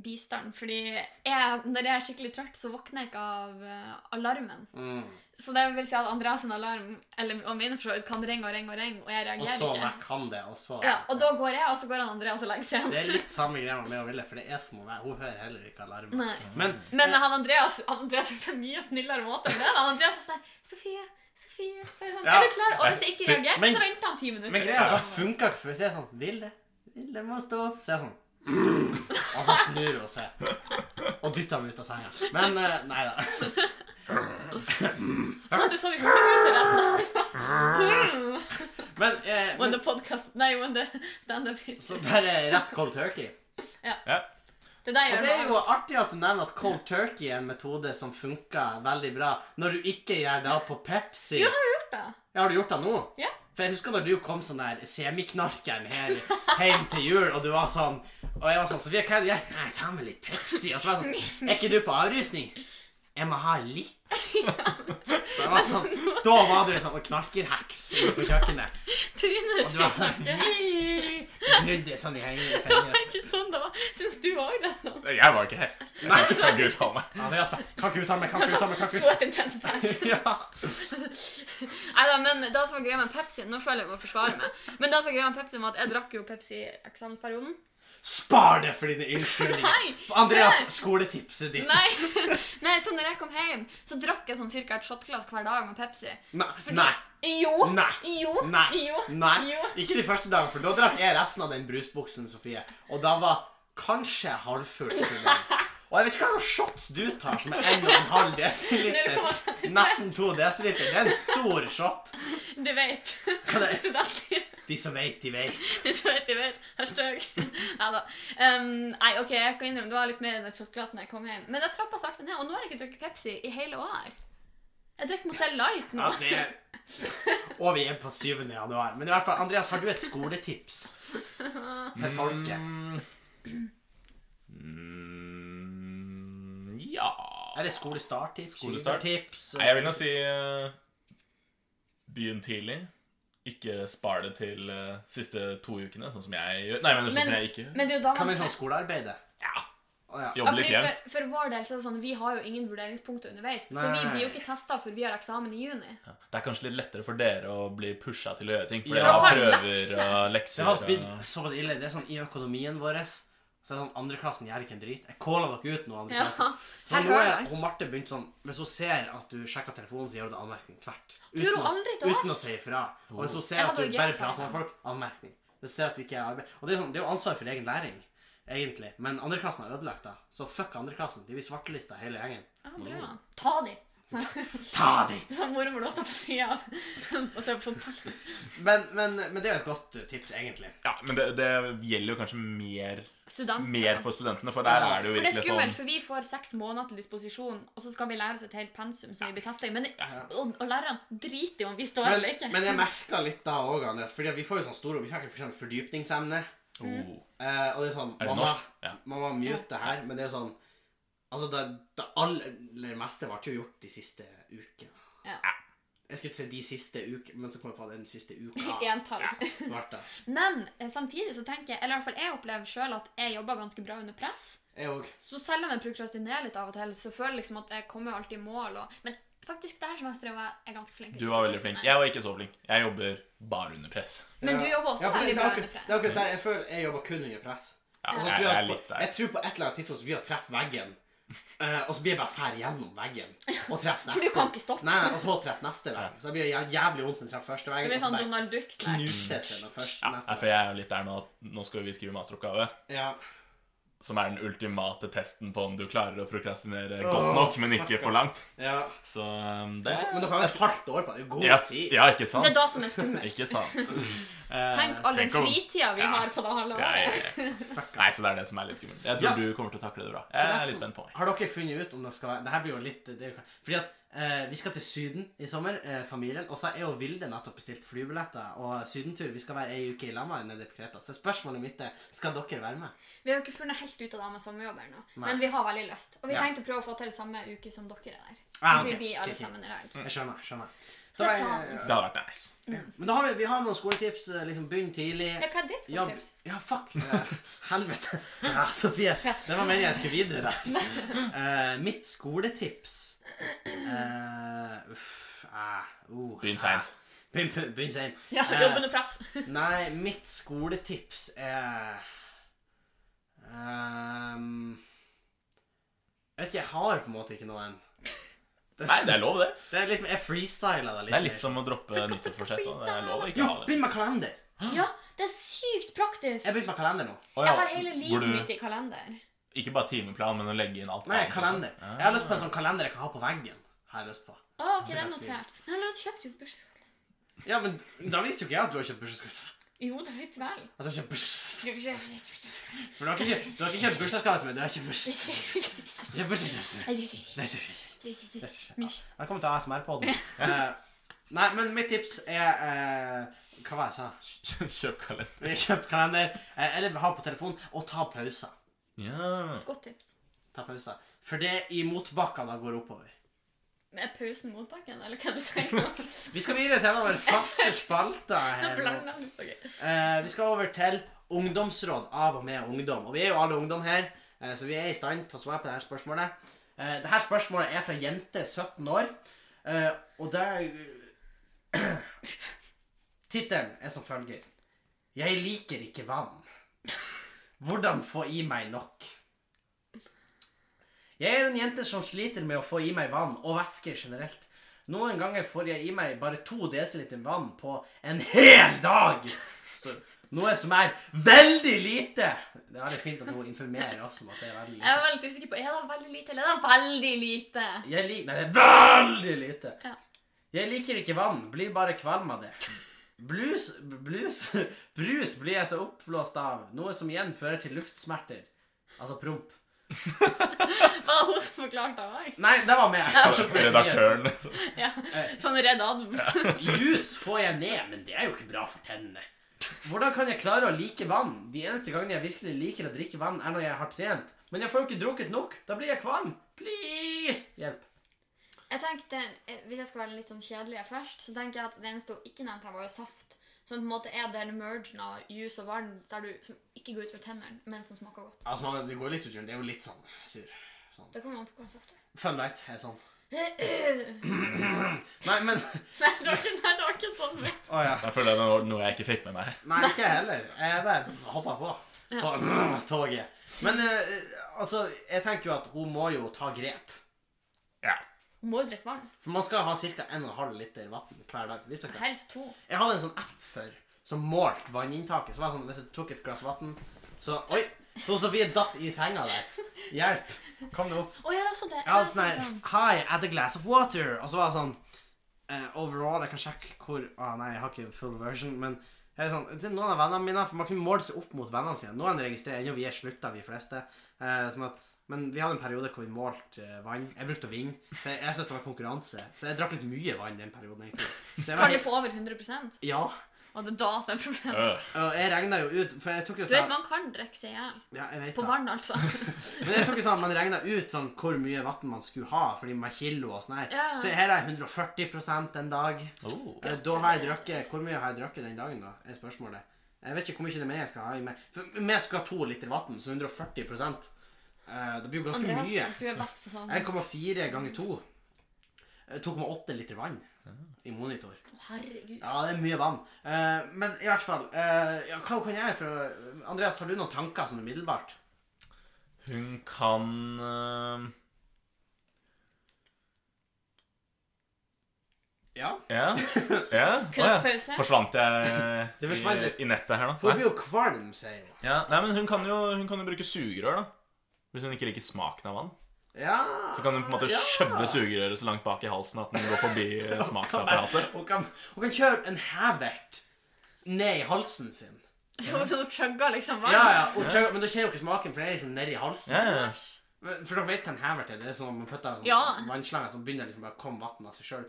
B: bistand. Fordi jeg, når jeg er skikkelig trøtt, så våkner jeg ikke av eh, alarmen.
A: Mm.
B: Så det vil si at Andreas' sin alarm eller, og min for så vidt, kan ringe og ringe og ringe, og jeg
A: Og
B: reagerer
A: så
B: ikke.
A: vekk han det, og så
B: Ja, og da går jeg, og så går han Andreas og legger seg
A: Det
B: igjen.
A: er litt samme greia med meg og Ville, for det er som å være Hun hører heller ikke alarmen.
B: Nei.
A: Men
B: Men han Andreas han Andreas er på en mye snillere måte enn det. Han Andreas er sånn her, Sofie, Sofie, er sånn,
A: Ja.
B: er du klar? Og hvis jeg ikke
D: Så-
B: reagerer,
A: men-
B: så venter han ti minutter.
A: Men greia er at det funka ikke, for hvis jeg er sånn Ville, Ville må stå opp. Så er jeg sånn mm. Og så snur hun seg. Og dytter ham ut av senga. Men eh, nei da.
B: Sånn at du sover i huset resten Mm. av
A: Men, eh,
B: When
A: men
B: the podcast Nei, when the stand-up hits.
A: så bare rett cold turkey.
B: Det der
A: Og
B: gjør
A: det er
B: meg
A: jo artig at du nevner at cold turkey er en metode som funker veldig bra når du ikke gjør det på Pepsi.
B: Jo, jeg har gjort det.
A: Ja, har du gjort det nå?
B: Ja.
A: For jeg husker da du kom sånn der semiknarkeren her hjem til jul, og du var sånn Og jeg var sånn Sofie, hva er det du gjør? Nei, ta med litt Pepsi. Og så var jeg sånn Er ikke du på avrusning? Jeg må ha litt. Det var sånn, da var du en sånn knarkerheks inne på kjøkkenet.
B: Trynet
A: Og
B: ditt
A: du var sånn
B: Det
A: Gnudde sånn i hengende
B: var
A: fingre.
B: ikke sånn det var. Syns du òg det?
D: Jeg var ikke her.
A: Nei.
D: Kan Gud ta meg.
A: Andreas bare, Kan ikke uttale meg, kan ikke uttale meg, kan
B: Så
A: ikke
B: et intenst pass.
A: uttale meg. Ja.
B: Nei da, men det som var greia med Pepsi Nå føler jeg jeg må forsvare meg. Men det som var greia med Pepsi, var at jeg drakk jo Pepsi i eksamensperioden.
A: Spar det for dine unnskyldninger.
B: Nei!
A: Andreas, skoletipset ditt.
B: Nei. Nei, så når jeg kom hjem, så drakk jeg sånn cirka et shotglass hver dag med Pepsi.
A: Nei.
B: Fordi-
A: Nei.
B: Jo.
A: Nei.
B: Jo.
A: Nei.
B: Jo.
A: Nei,
B: Jo.
A: ikke de første dagene, for da drakk jeg resten av den brusbuksen, Sofie. Og da var kanskje halvfull. tror jeg. Og jeg vet ikke hva slags shots du tar, som er 1,5 desiliter.
B: 0,33.
A: Nesten 2 desiliter. Det er en stor shot.
B: Du vet.
A: Hva det er?
B: Studentliv.
A: De som vet, de vet.
B: De som vet, de vet. Hashtag. Neida. Um, nei, ok, jeg kan innrømme det var litt mer enn et shotglass når jeg kom hjem. Men jeg trappa sakte ned, og nå har jeg ikke drukket Pepsi i hele år. Jeg drikker Mozell Light nå.
A: Ja, det Og vi er på 7. januar. Men i hvert fall, Andreas, har du et skoletips til folket?
D: Mm, ja
A: Eller skolestarttips?
D: Skolestart?
A: Skolestarttips?
D: Nei, jeg vil nå si eh, begynn tidlig. Ikke spar det til eh, siste to ukene, sånn som jeg gjør. Nei, jeg mener sånn
B: Men-
D: som jeg ikke gjør.
B: Men det er jo da
A: Kan
B: man
A: vi sånn skolearbeide?
D: Ja.
A: Å ja.
B: ja,
D: Jobbe litt
B: fordi
D: jevnt.
B: for, for vår del så er det sånn, vi har jo ingen vurderingspunkter underveis. Så
A: Nei.
B: vi blir jo ikke testa før vi har eksamen i juni.
D: Det er kanskje litt lettere for dere å bli pusha til å gjøre ting. For
A: Ja.
D: dere har
B: For å ha
D: prøver
B: lekser.
D: og
A: Det
D: lekser.
A: har blitt
D: og-
A: såpass ille. Det er sånn i økonomien vår Så er det sånn andreklassen gjør ikke en drit. Jeg caller dere ut nå,
B: Ja.
A: andreklassen. Så
B: Her
A: nå
B: hører
A: er
B: jeg.
A: hun Marte begynt sånn Hvis hun ser at du sjekker telefonen, så gjør du det anmerkning tvert.
B: gjør
A: Uten,
B: hun
A: å-
B: aldri til oss.
A: uten å si ifra. Og hvis hun
B: Jeg
A: ser at
B: hadde
A: du
B: jo
A: bare
B: gjemt
A: prater med
B: meg.
A: folk, anmerkning. Hvis hun ser at du ikke er i arbeid. Og det er, sånn, det er jo ansvar for egen læring, egentlig. Men andreklassen har ødelagt det. Så fuck andreklassen. De blir svartelista hele gjengen.
B: Ja, bra. Ta de.
A: Ta de!
B: Sånn mormor låste på sida og se på fotball.
A: Men, men, men det er jo et godt uh, tips, egentlig.
D: Ja, men det, det gjelder jo kanskje mer,
B: Student.
D: mer for studentene, for der
A: Ja,
D: er det jo
B: For det er
D: virkelig
B: skummelt,
D: sånn
B: for vi får seks måneder til disposisjon, og så skal vi lære oss et helt pensum som vi blir testet i. Men og, og lærerne driter i om vi står eller ikke.
A: Men, men jeg merka litt da òg, Andreas. Fordi at vi får jo sånn store Vi fikk jo for eksempel fordypningsemne.
D: oh.
A: Eh, og det er sånn
D: Er det
A: mamma,
D: norsk? Ja.
A: mamma mute det her, men det er sånn Altså, det, det aller meste ble jo gjort de siste ukene.
B: Ja.
A: Jeg skulle ikke si de siste ukene, men så kom jeg på den siste uka.
B: Entall.
A: ble det.
B: Men eh, samtidig så tenker jeg, eller i hvert fall jeg opplever sjøl at jeg jobber ganske bra under press.
A: Jeg òg.
B: Så selv om jeg prokrastinerer litt av og til, så føler jeg liksom at jeg kommer jo alltid i mål. Og, men faktisk det her semesteret var jeg ganske flink.
D: Du var veldig flink. Jeg var ikke så flink. Jeg jobber bare under press.
B: Men du jobber også
A: for det-
B: veldig
A: det er
B: bra
A: akkurat- Det
B: under
A: er
B: press.
A: akkurat der jeg føler jeg jobber kun under press.
D: Ja,
A: Og så
D: jeg,
A: tror
D: jeg
A: jeg,
D: er
A: at
D: litt
A: på,
D: der.
A: jeg tror på et eller annet tidspunkt så blir jeg å treffe veggen. eh, og så blir jeg bare fær gjennom veggen og treffer
B: For
A: neste.
B: du kan ikke stoppe.
A: Nei, og så treffe neste vegg. Så det blir jæ- jævlig vondt når jeg treffer første
B: Det
A: veggen.
B: blir
A: Og så
B: sånn
A: bare
B: Donald Duck. der.
A: knuses jeg når først
D: Ja,
A: neste
D: for jeg er jo litt der nå at nå skal vi skrive masteroppgave,
A: vegg. Ja.
D: som er den ultimate testen på om du klarer å prokrastinere
A: Åh,
D: godt nok, men
A: fuck,
D: ikke
A: ass.
D: for langt.
A: ja.
D: Så um, det
A: Men dere har jo et halvt år på det. det. er God
D: ja,
A: tid.
D: ja, ikke sant?
B: Det er da som er skummelt.
D: Ikke sant.
B: Tenk all den
D: tenk om-
B: fritida vi
D: Ja.
B: har på det halve
D: Ja, ja,
B: året.
D: ja. Nei, så det er det som er litt skummelt. Jeg tror
A: Ja.
D: du kommer til å takle det bra. Jeg er litt spent på meg.
A: Har dere funnet ut om det skal være Det her blir jo litt det er jo, Fordi at eh, vi skal til Syden i sommer, eh, familien. Og så er jo Vilde nettopp bestilt flybilletter og sydentur. Vi skal være ei uke i Lamar nede på Kreta. Så spørsmålet mitt er skal dere være med.
B: Vi har jo ikke funnet helt ut av det med sommerjobber nå,
A: Nei.
B: men vi har veldig lyst. Og vi
A: Ja.
B: tenkte å prøve å få til samme uke som dere er der.
A: Ah,
B: At vi
A: ok.
B: blir alle
A: Ok, ok.
B: sammen i dag.
A: Jeg skjønner. skjønner Så
B: Det er
A: jeg-
B: planen.
D: Det hadde vært nice.
A: Men da har vi, vi har noen skoletips. eh, Liksom Begynn tidlig.
B: Ja, hva er ditt
A: Jobb-
B: skoletips?
A: Ja, fuck! Eh, Helvete. Ja, Sofie. Det var meningen jeg skulle videre der. Eh, mitt skoletips Eh, Uff. eh, uh,
D: Begynn seint.
A: eh, Begynn, begynn seint.
B: Ja,
A: Eh,
B: jobb under press.
A: Nei, mitt skoletips er ehm, Jeg vet ikke, jeg har på en måte ikke noe enn. Det,
D: Nei, det er lov, det.
A: det er litt, jeg freestyler det litt.
D: Det er litt sånn som å droppe nyttårsforsett. da. Det er lov å ikke
A: Jo,
D: ha det.
A: begynn med kalender!
B: Ja, det er sykt
A: Jeg
B: praktisk.
A: begynte med kalender nå.
D: Å, ja.
B: Jeg har hele
D: Hvor
B: livet
D: du-
B: mitt i kalender.
D: Ikke bare timeplan, men å legge inn alt.
A: Nei,
D: annet også.
A: kalender. Jeg har lyst på en sånn kalender jeg kan ha på veggen. Har jeg lyst på.
B: Å, ok, det er notert. Men han kjøpte jo bursdagsgave.
A: Ja, men da visste jo ikke jeg at du har kjøpt bursdagsgave.
B: Jo, det vet vel.
A: At du har kjøpt bursdagsgave.
B: Du kjøpte
A: For du har ikke, kjøpt- du har ikke kjøpt bursdagsgave til meg. Du har kjøpt bursdagsgave. Du har bursdagsgave. Du har kjøpt bursdagsgave.
B: Nei,
A: Ja. Velkommen til ASMR-podden. Eh, nei, men mitt tips er eh, Hva var det jeg sa?
D: Kjøp kalender.
A: Kjøp kalender, eh, eller ha på telefon, og ta pauser.
D: Ja.
B: Godt tips.
A: Ta pauser. For det er i motbakkene det går oppover.
B: Men Er pausen mot bakken, eller hva du tenker nå?
A: Vi skal videre til en av våre faste spalter.
B: Nå
A: her nå.
B: blander han ut. Ok.
A: Eh, vi skal over til ungdomsråd av og med ungdom. Og vi er jo alle ungdom her, eh, så vi er i stand til å svare på dette spørsmålet. Eh, dette spørsmålet er fra jente 17 år, eh, og det er- Tittelen er som følger Jeg liker ikke vann. Hvordan få i meg nok? Jeg er en jente som sliter med å få i meg vann, og væske generelt. Noen ganger får jeg i meg bare 2 dl vann på en hel dag! Står- Noe som er veldig lite! Det er veldig fint at hun informerer oss om at det er veldig
B: Jeg
A: lite.
B: var veldig usikker på Er det veldig lite, eller er det veldig lite?
A: Jeg lik... Nei, det er veldig lite.
B: Ja.
A: Jeg liker ikke vann, blir bare kvalm av det. Blues, blues, brus blir jeg så oppblåst av, noe som igjen fører til luftsmerter. Altså promp.
B: Var det hun som forklarte det òg?
A: Nei, det var meg.
D: Redaktøren.
B: Ja. Sånn redd Adam.
A: Jus får jeg ned, men det er jo ikke bra for tennene. Hvordan kan jeg klare å like vann? De eneste gangene jeg virkelig liker å drikke vann, er når jeg har trent. Men jeg får jo ikke drukket nok. Da blir jeg kvalm. Please! Hjelp.
B: Jeg tenkte, eh, Hvis jeg skal være litt sånn kjedelig først, så tenker jeg at det eneste hun ikke nevnte her, var jo saft. Som på en måte er den mergen av juice og vann så er du, som ikke går utover tennene, men som smaker godt.
A: Altså, man, det går litt utover. Det er jo litt sånn sur. Sånn.
B: Det kommer an på hva saft er.
A: Fun night er sånn.
B: Nei,
A: Nei, men
B: det var ikke, nei, det var ikke sånn.
A: Å ja.
D: Jeg føler det var noe jeg ikke fikk med meg.
A: Nei, ikke jeg heller. Jeg bare hoppa på på toget. Men eh, altså, jeg tenker jo at hun må jo ta grep.
D: Ja.
B: Hun må jo drikke vann.
A: For man skal ha ca. 1,5 liter vann hver dag. Visste dere det?
B: Helst to.
A: Jeg hadde en sånn app før som målte vanninntaket. Så var det sånn, Hvis jeg tok et glass vann, så Oi! Så Sofie datt i senga der. Hjelp! Kom deg opp.
B: Og jeg har også det.
A: Jeg hadde sånn her Hi, add a glass of water. Og så var det sånn eh, Overall, jeg kan sjekke hvor Å nei, jeg har ikke full version, men jeg er sånn, så noen av vennene mine, for Man kunne måle seg opp mot vennene sine. Noen registrerer ennå, vi er slutta, vi fleste. Eh, sånn at, men vi hadde en periode hvor vi målte eh, vann. Jeg brukte å vinne. for Jeg, jeg syntes det var konkurranse. Så jeg drakk litt mye vann den perioden. egentlig. Så jeg var
B: Kan du
A: helt,
B: få over 100
A: ja,
B: Og det er da som er problemet.
D: Øh.
A: og jeg regna jo ut For jeg tok jo
B: Du vet,
A: sånn
B: man kan drikke seg i hjel.
A: ja, jeg vet
B: På
A: det.
B: vann, altså.
A: Men jeg tok jo sånn at man regna ut sånn hvor mye vann man skulle ha, fordi med kilo og sånn her.
B: Ja.
A: Så her er jeg 140 en dag.
D: Oh.
A: Eh, Da har jeg drukket Hvor mye har jeg drukket den dagen, da? Er spørsmålet. Jeg vet ikke hvor mye det er mer jeg skal ha i meg. For vi skal ha to liter vann, så 140 eh, Det blir jo ganske mye.
B: Andreas, du er best på sånn.
A: 1,4 ganger Eh, 2. 2,8 liter vann i monitor.
B: Å, Herregud.
A: Ja, det er mye vann. Eh, men i hvert fall eh, ja, Hva kan jeg gjøre for å Andreas, har du noen tanker sånn umiddelbart?
D: Hun kan øh,
A: Ja.
D: Ja. ja. Å, ja.
B: Kunstpause.
D: Forsvant jeg
A: Det forsvant
D: i,
A: litt.
D: i nettet her
A: For
D: nå?
A: hun blir jo kvalm, sier hun.
D: Ja. Nei, men hun kan, jo, hun kan jo bruke sugerør, da. Hvis hun ikke liker smaken av vann.
A: Ja.
D: Så kan hun på en måte
A: Ja.
D: skjøve sugerøret så langt bak i halsen at den går forbi eh, smaksapparatet.
A: Hun kan, hun kan kjøre en havert ned i halsen sin.
B: Som om hun chugga liksom
A: Ja, ja,
B: vann.
A: og kjører, Men da kjenner jo ikke smaken, for det er liksom nedi halsen.
D: Ja, ja.
A: Men- For dere vet hva en havert er? Det er sånn at man putter en sånn
B: Ja.
A: vannslange som begynner liksom bare å komme vann av seg sjøl.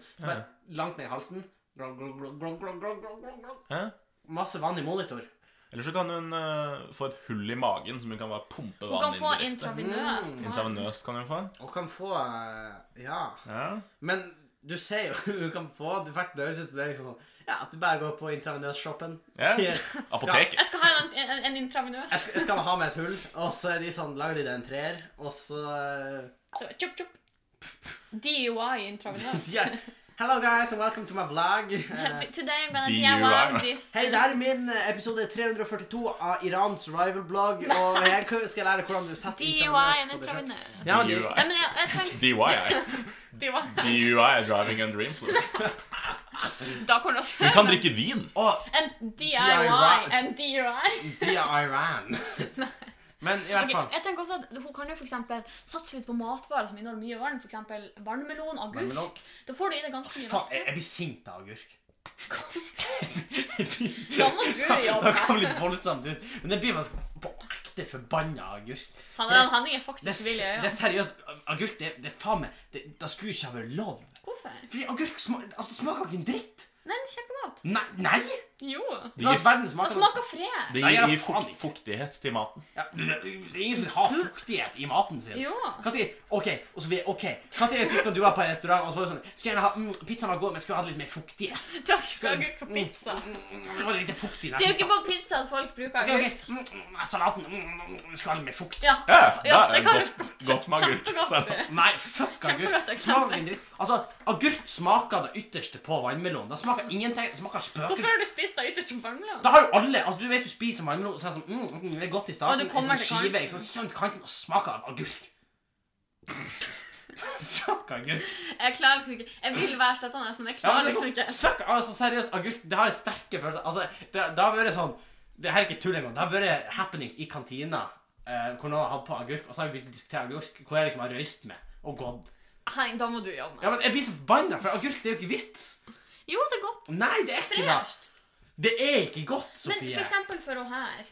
A: Langt ned i halsen. Glog, glog, glog, glog, glog, glog, glog, glog, glog.
D: ja.
A: Masse vann i monitor.
D: Eller så kan hun eh, få et hull i magen som hun kan bare pumpe
B: Hun
D: vann
B: kan
D: inn
B: få
A: Mm.
D: direkte.
B: intravenøst. vann.
D: Intravenøst kan hun få.
A: Og kan få eh, Ja.
D: Ja.
A: Men Du ser jo du kan få du faktisk, Det høres ut som det er liksom sånn Ja, at du bare går på intravenøs-shoppen
D: Ja.
A: sier,
D: Apoteket.
B: Jeg skal ha en, en, en intravenøs.
A: jeg skal, jeg skal ha med et hull, og så er de sånn, lager de det en treer, og så eh,
B: Så, Tjopp, tjopp. DUI intravenøs.
A: yeah. Hello guys, and welcome to my vlog. Eh,
B: Today I'm gonna
D: DUI.
B: DIY this.
A: Hei, det her er min eh, episode 342 av Irans rival-blogg, og her kan- skal jeg lære deg hvordan du setter
B: DUI and
A: på deg selv.
B: intravenøs.
A: Ja, men
D: DUI.
A: de,
B: Nei, men jeg, jeg tenker
D: DUI.
B: DUI.
D: DUI driving under influence.
B: Da kommer det også
D: Hun kan drikke vin.
A: Å,
B: En DIY and DUI.
A: de er Iran. Men i hvert
B: Ok,
A: fall.
B: jeg tenker også at Hun kan jo for eksempel satse litt på matvarer som inneholder mye vann. F.eks. vannmelon,
A: Vannmelon.
B: agurk. Da får du i deg ganske mye
A: Faen, eh, jeg,
B: væske.
A: jeg blir sint av agurk.
B: Da må du jobbe.
A: Det kom litt voldsomt ut. Men det blir man sk- på ekte forbanna av agurk.
B: Han, han Henning er
A: Det, er-
B: faktisk vill i
A: det er
B: øynene.
A: seriøst. Agurk, det, det er faen meg Det, det skulle ikke ha vært lov.
B: Hvorfor?
A: Fordi agurk sma, altså, det smaker ikke en dritt.
B: Nei, det er kjempegodt.
A: Nei! nei.
B: Jo.
D: Det
A: La oss
D: gir,
A: verden
B: Det
A: smake
B: smaker fred.
D: det
A: Nei,
D: gir,
A: jeg
D: gir
A: faen
D: fukt,
A: ikke.
D: fuktighet til maten.
A: Ja, det det er ingen som vil ha fuktighet i maten sin.
B: Jo.
A: Hva tid, ok, og så vil jeg, ok Hva tid er det sist gang du var på en restaurant og så var det sånn Skulle gjerne ha, mm, Pizzaen var god, men skulle hatt litt mer fuktighet.
B: Takk for agurk på pizza.
A: Mm, det var litt fuktig i den
B: Det er jo ikke
A: pizzaen.
B: på pizza at folk bruker
A: Ok,
B: agurk.
A: ok, mm, mm, Salaten mm, mm, skulle ha litt mer fukt.
B: Ja,
D: Ja,
B: ja
D: da er
B: det kan du
D: godt- godt med agurk.
B: Kjempegodt. det.
A: Nei, fuck
B: Kjempegodt
A: agurk.
B: eksempel.
A: Smaker ingen dritt. Altså, agurk smaker det ytterste på vannmelon. Det smaker ingenting. Det smaker
B: Hvorfor har
A: spøkelse.
B: du spist deg ytterst på vannmelon?
A: Da har jo alle, altså Du vet du spiser vannmelon, så er det sånn mm, mm, Det er godt i
B: Og
A: starten.
B: du kommer
A: en sånn
B: til kanten.
A: skive, ikke sant, så kommer du til kanten og smaker av agurk. fuck agurk.
B: Jeg klarer liksom ikke Jeg vil være støttende, men
A: Ja,
B: jeg
A: men det
B: klarer
A: er
B: liksom
A: sånn,
B: ikke.
A: fuck, altså Seriøst, agurk, det har jeg sterke følelser Altså, Det, det har vært sånn Det her er ikke tull engang. Det har vært happenings i kantina eh, hvor noen har hatt på agurk, og så har vi begynt å diskutere agurk, hvor jeg liksom har røyst med og gått.
B: Nei, da må du jobbe med
A: Ja, men Jeg blir så forbanna, for agurk det er jo ikke vits.
B: Jo, det er godt.
A: Nei, det er ikke bra.
B: Fresht.
A: Det er ikke godt,
B: Men
A: Sofie.
B: for eksempel for hun her.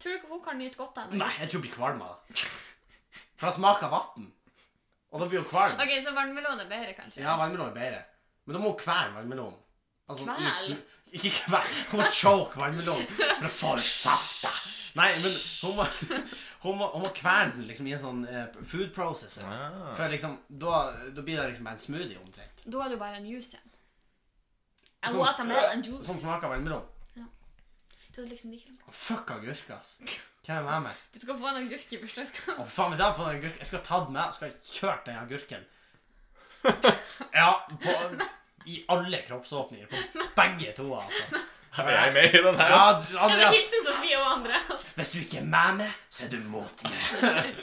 B: Tror du ikke hun kan nyte godt av det?
A: Nei, jeg tror jeg blir kvalm av det. For det smaker vann. Og da blir hun kvalm.
B: Ok, så vannmelon er bedre, kanskje?
A: Ja, vannmelon er bedre. Men da må hun kvele vannmelonen. Altså,
B: Kvel?
A: i sm- Ikke kvel. Hun må choke vannmelonen for å få ut safta. Nei, men hun må, hun må, hun må kvele den liksom, i en sånn eh, food processor.
D: Ah.
A: For liksom, da, da blir det liksom bare en smoothie omtrent.
B: Da er det jo bare en juice igjen. Jeg
A: Sånn-
B: må ta med en juice.
A: Som smaker vannmelon.
B: Du, er liksom like godt.
A: Fuck agurk, ass. Hvem er jeg med?
B: du skal få en agurk i bursdagsgave.
A: Å, for faen, hvis jeg hadde fått en agurk Jeg skulle ha tatt med, skulle jeg kjørt den agurken. Ja, på, i alle kroppsåpninger. På begge to, altså.
D: Er jeg med i den her?
A: Ja,
B: Ja, men
A: Andreas,
B: hilsen Sofie og Andreas.
A: hvis du ikke er med meg, så er du mot meg.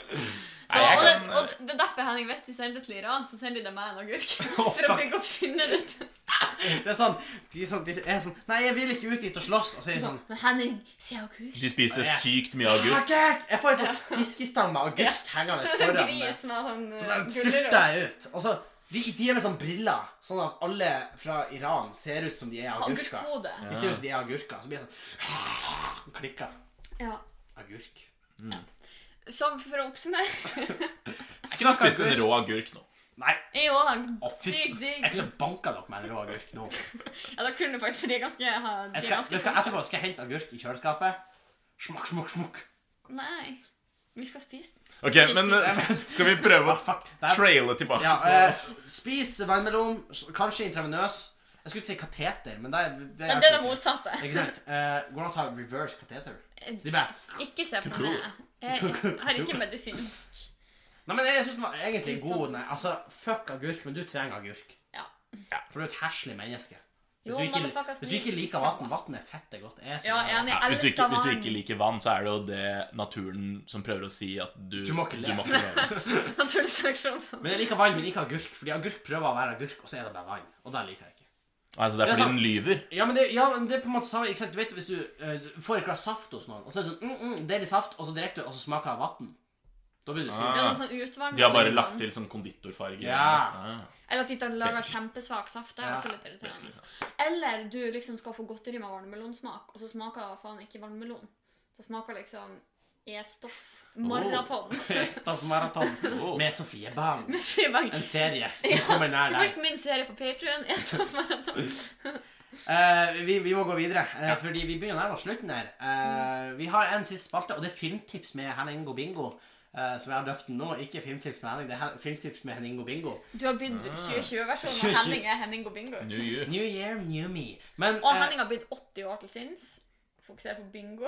B: Så,
D: Nei, jeg
B: og, det,
D: kan-
B: og det er derfor Henning vet de sender det til Iran, så sender de det med en agurk.
A: Å,
B: For å
A: fuck.
B: bygge opp sinnet ditt.
A: Det er sånn, de, er sånn, de er sånn Nei, jeg vil ikke ut dit og slåss. Og så er de sånn
B: Men Henning, se agurk.
D: De spiser sykt mye agurk.
A: Agurk! Jeg får en sånn fiskestang med agurk hengende
B: Så en sånn
A: foran meg.
B: gris med sånn
A: Så
B: eh,
A: bare
B: gulrot.
A: Styrter jeg ut. Og så de, de er med sånn briller, sånn at alle fra Iran ser ut som de er agurker.
B: Agurkhode.
A: De ser ut som de er agurker. Så blir jeg sånn Klikker.
B: Ja.
A: Agurk.
B: Så for å oppsummere
D: Jeg kunne ha spist en rå agurk nå.
A: Nei,
B: Jeg òg.
A: å fy
B: Sykt
A: Jeg
B: digg.
A: kunne banka dere med en rå agurk nå. Jeg
B: Ja, da kunne du faktisk, for de er ganske de er
A: skal,
B: ganske
A: jeg skal, etterpå skal jeg hente agurk i kjøleskapet. Smakk, smakk, smakk.
B: Nei. Vi skal spise den.
D: Ok, men eh, skal- skal vi prøve
A: Ah,
D: å
A: fuck. Det er-
D: traile tilbake?
A: Ja,
D: på-
A: eh, spis vannmelon, kanskje intravenøs. Jeg skulle ikke si kateter, men det er det
B: Men det er det motsatte.
A: Ikke sant? Eh, går det an å ta reverse kateter? De bare
B: Ikke se på
D: Kultur.
B: meg. Jeg jeg har ikke medisinsk.
A: Nei, men jeg syns den var egentlig god. Nei, altså, fuck agurk, men du trenger agurk.
B: Ja.
A: For du er et heslig menneske. Hvis
B: Jo,
A: du ikke,
B: motherfuckers,
A: hvis du ikke
B: vi-
A: liker vann Vann er fett det er godt. Jeg
B: Ja,
A: sier det.
B: enig.
D: Ja, hvis, du
B: Alle
D: ikke,
B: skal
D: hvis
B: ha
D: du
B: en
D: ikke liker vann, så er det jo det naturen som prøver å si at du
A: Du må ikke le.
D: le.
B: naturlig seleksjon. sånn.
A: Men jeg liker vann, men ikke agurk. Fordi agurk prøver å være agurk, og så er det bare vann. Og det liker jeg ikke.
D: Altså, det er
A: Det er
D: fordi
A: sant.
D: den lyver.
A: Ja, men det, ja, men det er på en måte samme ikke sant? Du vet hvis du eh, du får et glass saft hos noen, og så er det sånn mm, mm, deilig saft, og så drikker du, og så smaker det vann. Da blir du sint.
D: Ah.
B: Ja, noe sånn utvann.
D: De har bare lagt til sånn konditorfarge.
A: Ja.
B: Eller at de tar lager
D: Basically.
B: kjempesvak saft. Det er
A: Ja, liksom.
B: også litt
D: basically,
B: irriterende. Eller du liksom skal få godteri med vannmelonsmak, og så smaker det faen ikke vannmelon. Så smaker liksom E-stoff. Maraton.
A: Stadsmaraton
D: Oh.
A: med Sofie Bang.
B: Med Sivang.
A: En serie som kommer nær
B: Det er
A: deg.
B: faktisk min serie på Patreon E-stoff maraton.
A: Eh, vi, vi må gå videre, eh, fordi vi begynner å nærme oss slutten her. Eh, vi har en siste spalte, og det er filmtips med Henning Gobingo. eh, som jeg har døpt den nå, ikke Filmtips med Henning, det er Hen- Filmtips med Henning og Bingo.
B: Du har
A: Ah.
B: bydd 2020-versjonen, og Henning er Henning og Bingo.
D: New you.
A: New year, new me. Men
B: Og
A: eh,
B: Henning har bydd 80 år til sinns. Fokuserer på bingo.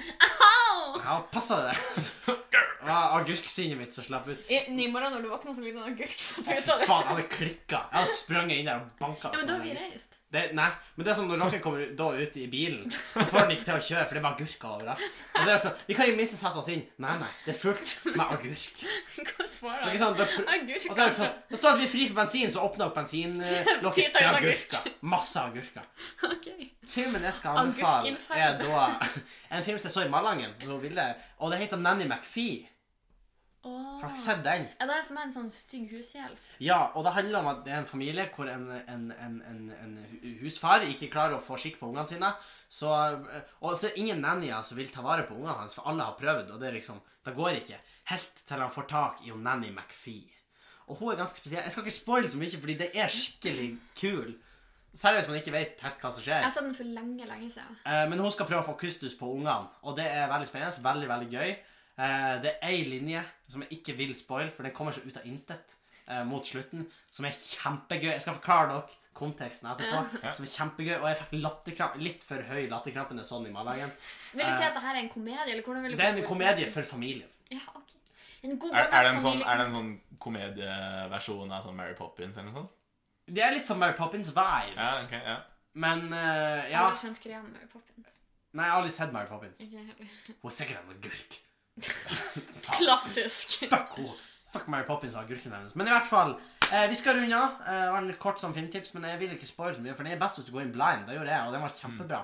B: Au!
A: eh, ja, passa det. Det var agurksinnet mitt som slapp ut.
B: I, I morgen når du våkner, så blir det en agurk på puta
A: Faen,
B: di.
A: jeg hadde klikka. Jeg hadde sprunget inn der og banka.
B: Ja, men da har vi reist.
A: Det, nei, men det er sånn når dere kommer da ut i bilen, så får den ikke til å kjøre, for det er bare agurker overalt. Og så er det sånn, Vi kan jo minst sette oss inn. Nei, nei, det er fullt med agurk. Det
B: Hvor får
A: er
B: han
A: ikke sånn, det, er-
B: agurk?
A: altså, det, er ikke sånn, det står at vi er fri for bensin, så åpner opp bensinlokket.
B: Tyter
A: Det er
B: ut agurk.
A: agurker. Masse agurker.
B: Ok.
A: Filmen jeg skal anbefale, er
B: Agurkinfall.
A: da en film som jeg så i Malangen, som hun ville, og det heter Nanny McPhee.
B: Åh.
A: Har dere sett den?
B: Ja, det er som en sånn stygg hushjelp.
A: Ja, og det handler om at det er en familie hvor en, en, en, en, en hu- husfar ikke klarer å få skikk på ungene sine. Så, og så er det ingen nannyer som vil ta vare på ungene hans, for alle har prøvd, og det er liksom, det går ikke. Helt til han får tak i hun Nanny McPhee. Og hun er ganske spesiell. Jeg skal ikke spoile så mye, fordi det er skikkelig kul. Særlig hvis man ikke vet helt hva som skjer.
B: Jeg
D: Eh.
B: har sett den for lenge, lenge siden.
A: Eh, Men hun skal prøve å få kustus på ungene, og det er veldig spennende. Veldig, veldig gøy. Eh, Det er ei linje som jeg ikke vil spoile, for den kommer seg ut av intet eh, mot slutten, som er kjempegøy. Jeg skal forklare dere konteksten etterpå, som er kjempegøy. Og jeg fikk latterkramp, litt for høy latterkramp enn det er sånn i magen.
B: Vil
D: Eh.
B: du si at det her er en komedie? eller hvordan vil du
A: Det er en komedie for familien.
B: Ja, ok. En god
D: Er, er, det en sånn,
B: barndomsfamilie-
D: er det en sånn komedieversjon av sånn Mary Poppins eller noe sånt?
A: Det er litt som Mary Poppins vibes.
D: Ja, ok, ja.
A: Men eh, ja
B: Alle skjønte greia med Poppins.
A: Nei, jeg har aldri sett Mary Poppins.
B: Ikke jeg heller.
A: Hun er sikkert en agurk. Faen.
B: Klassisk.
A: Fuck henne. Fuck Mary Poppins og agurken hennes. Men i hvert fall, eh, vi skal runde av. Eh, det var en litt kort som filmtips, men jeg vil ikke spoile så mye, for det er best hvis du går inn blind. Det gjorde jeg, og den var kjempebra.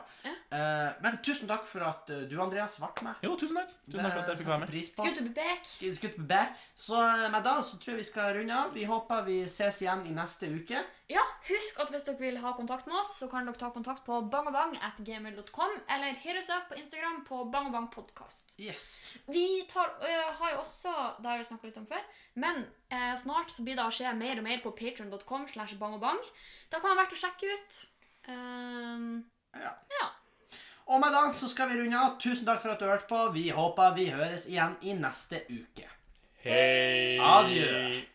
A: Eh, men tusen takk for at eh, du, Andreas, ble med.
D: Jo, tusen takk. Tusen takk for at jeg fikk være med.
A: pris på.
B: Skutt og bebek.
A: Skutt på bær. Så eh, med da så tror jeg vi skal runde av. Vi håper vi ses igjen i neste uke.
B: Ja, husk at hvis dere vil ha kontakt med oss, så kan dere ta kontakt på bangabang.gmail.com eller hit oss up på Instagram på bangabangpodkast.
A: Yes.
B: Vi tar, øh, har jo også det har vi snakket litt om før, men eh, snart så blir det å skje mer og mer på patreon.com slash bangabang. Da kan det være verdt å sjekke ut. Ehm,
A: Ja.
B: ja.
A: Og med da så skal vi runde av. Tusen takk for at du hørte på. Vi håper vi høres igjen i neste uke.
D: Hei!
A: Adjø.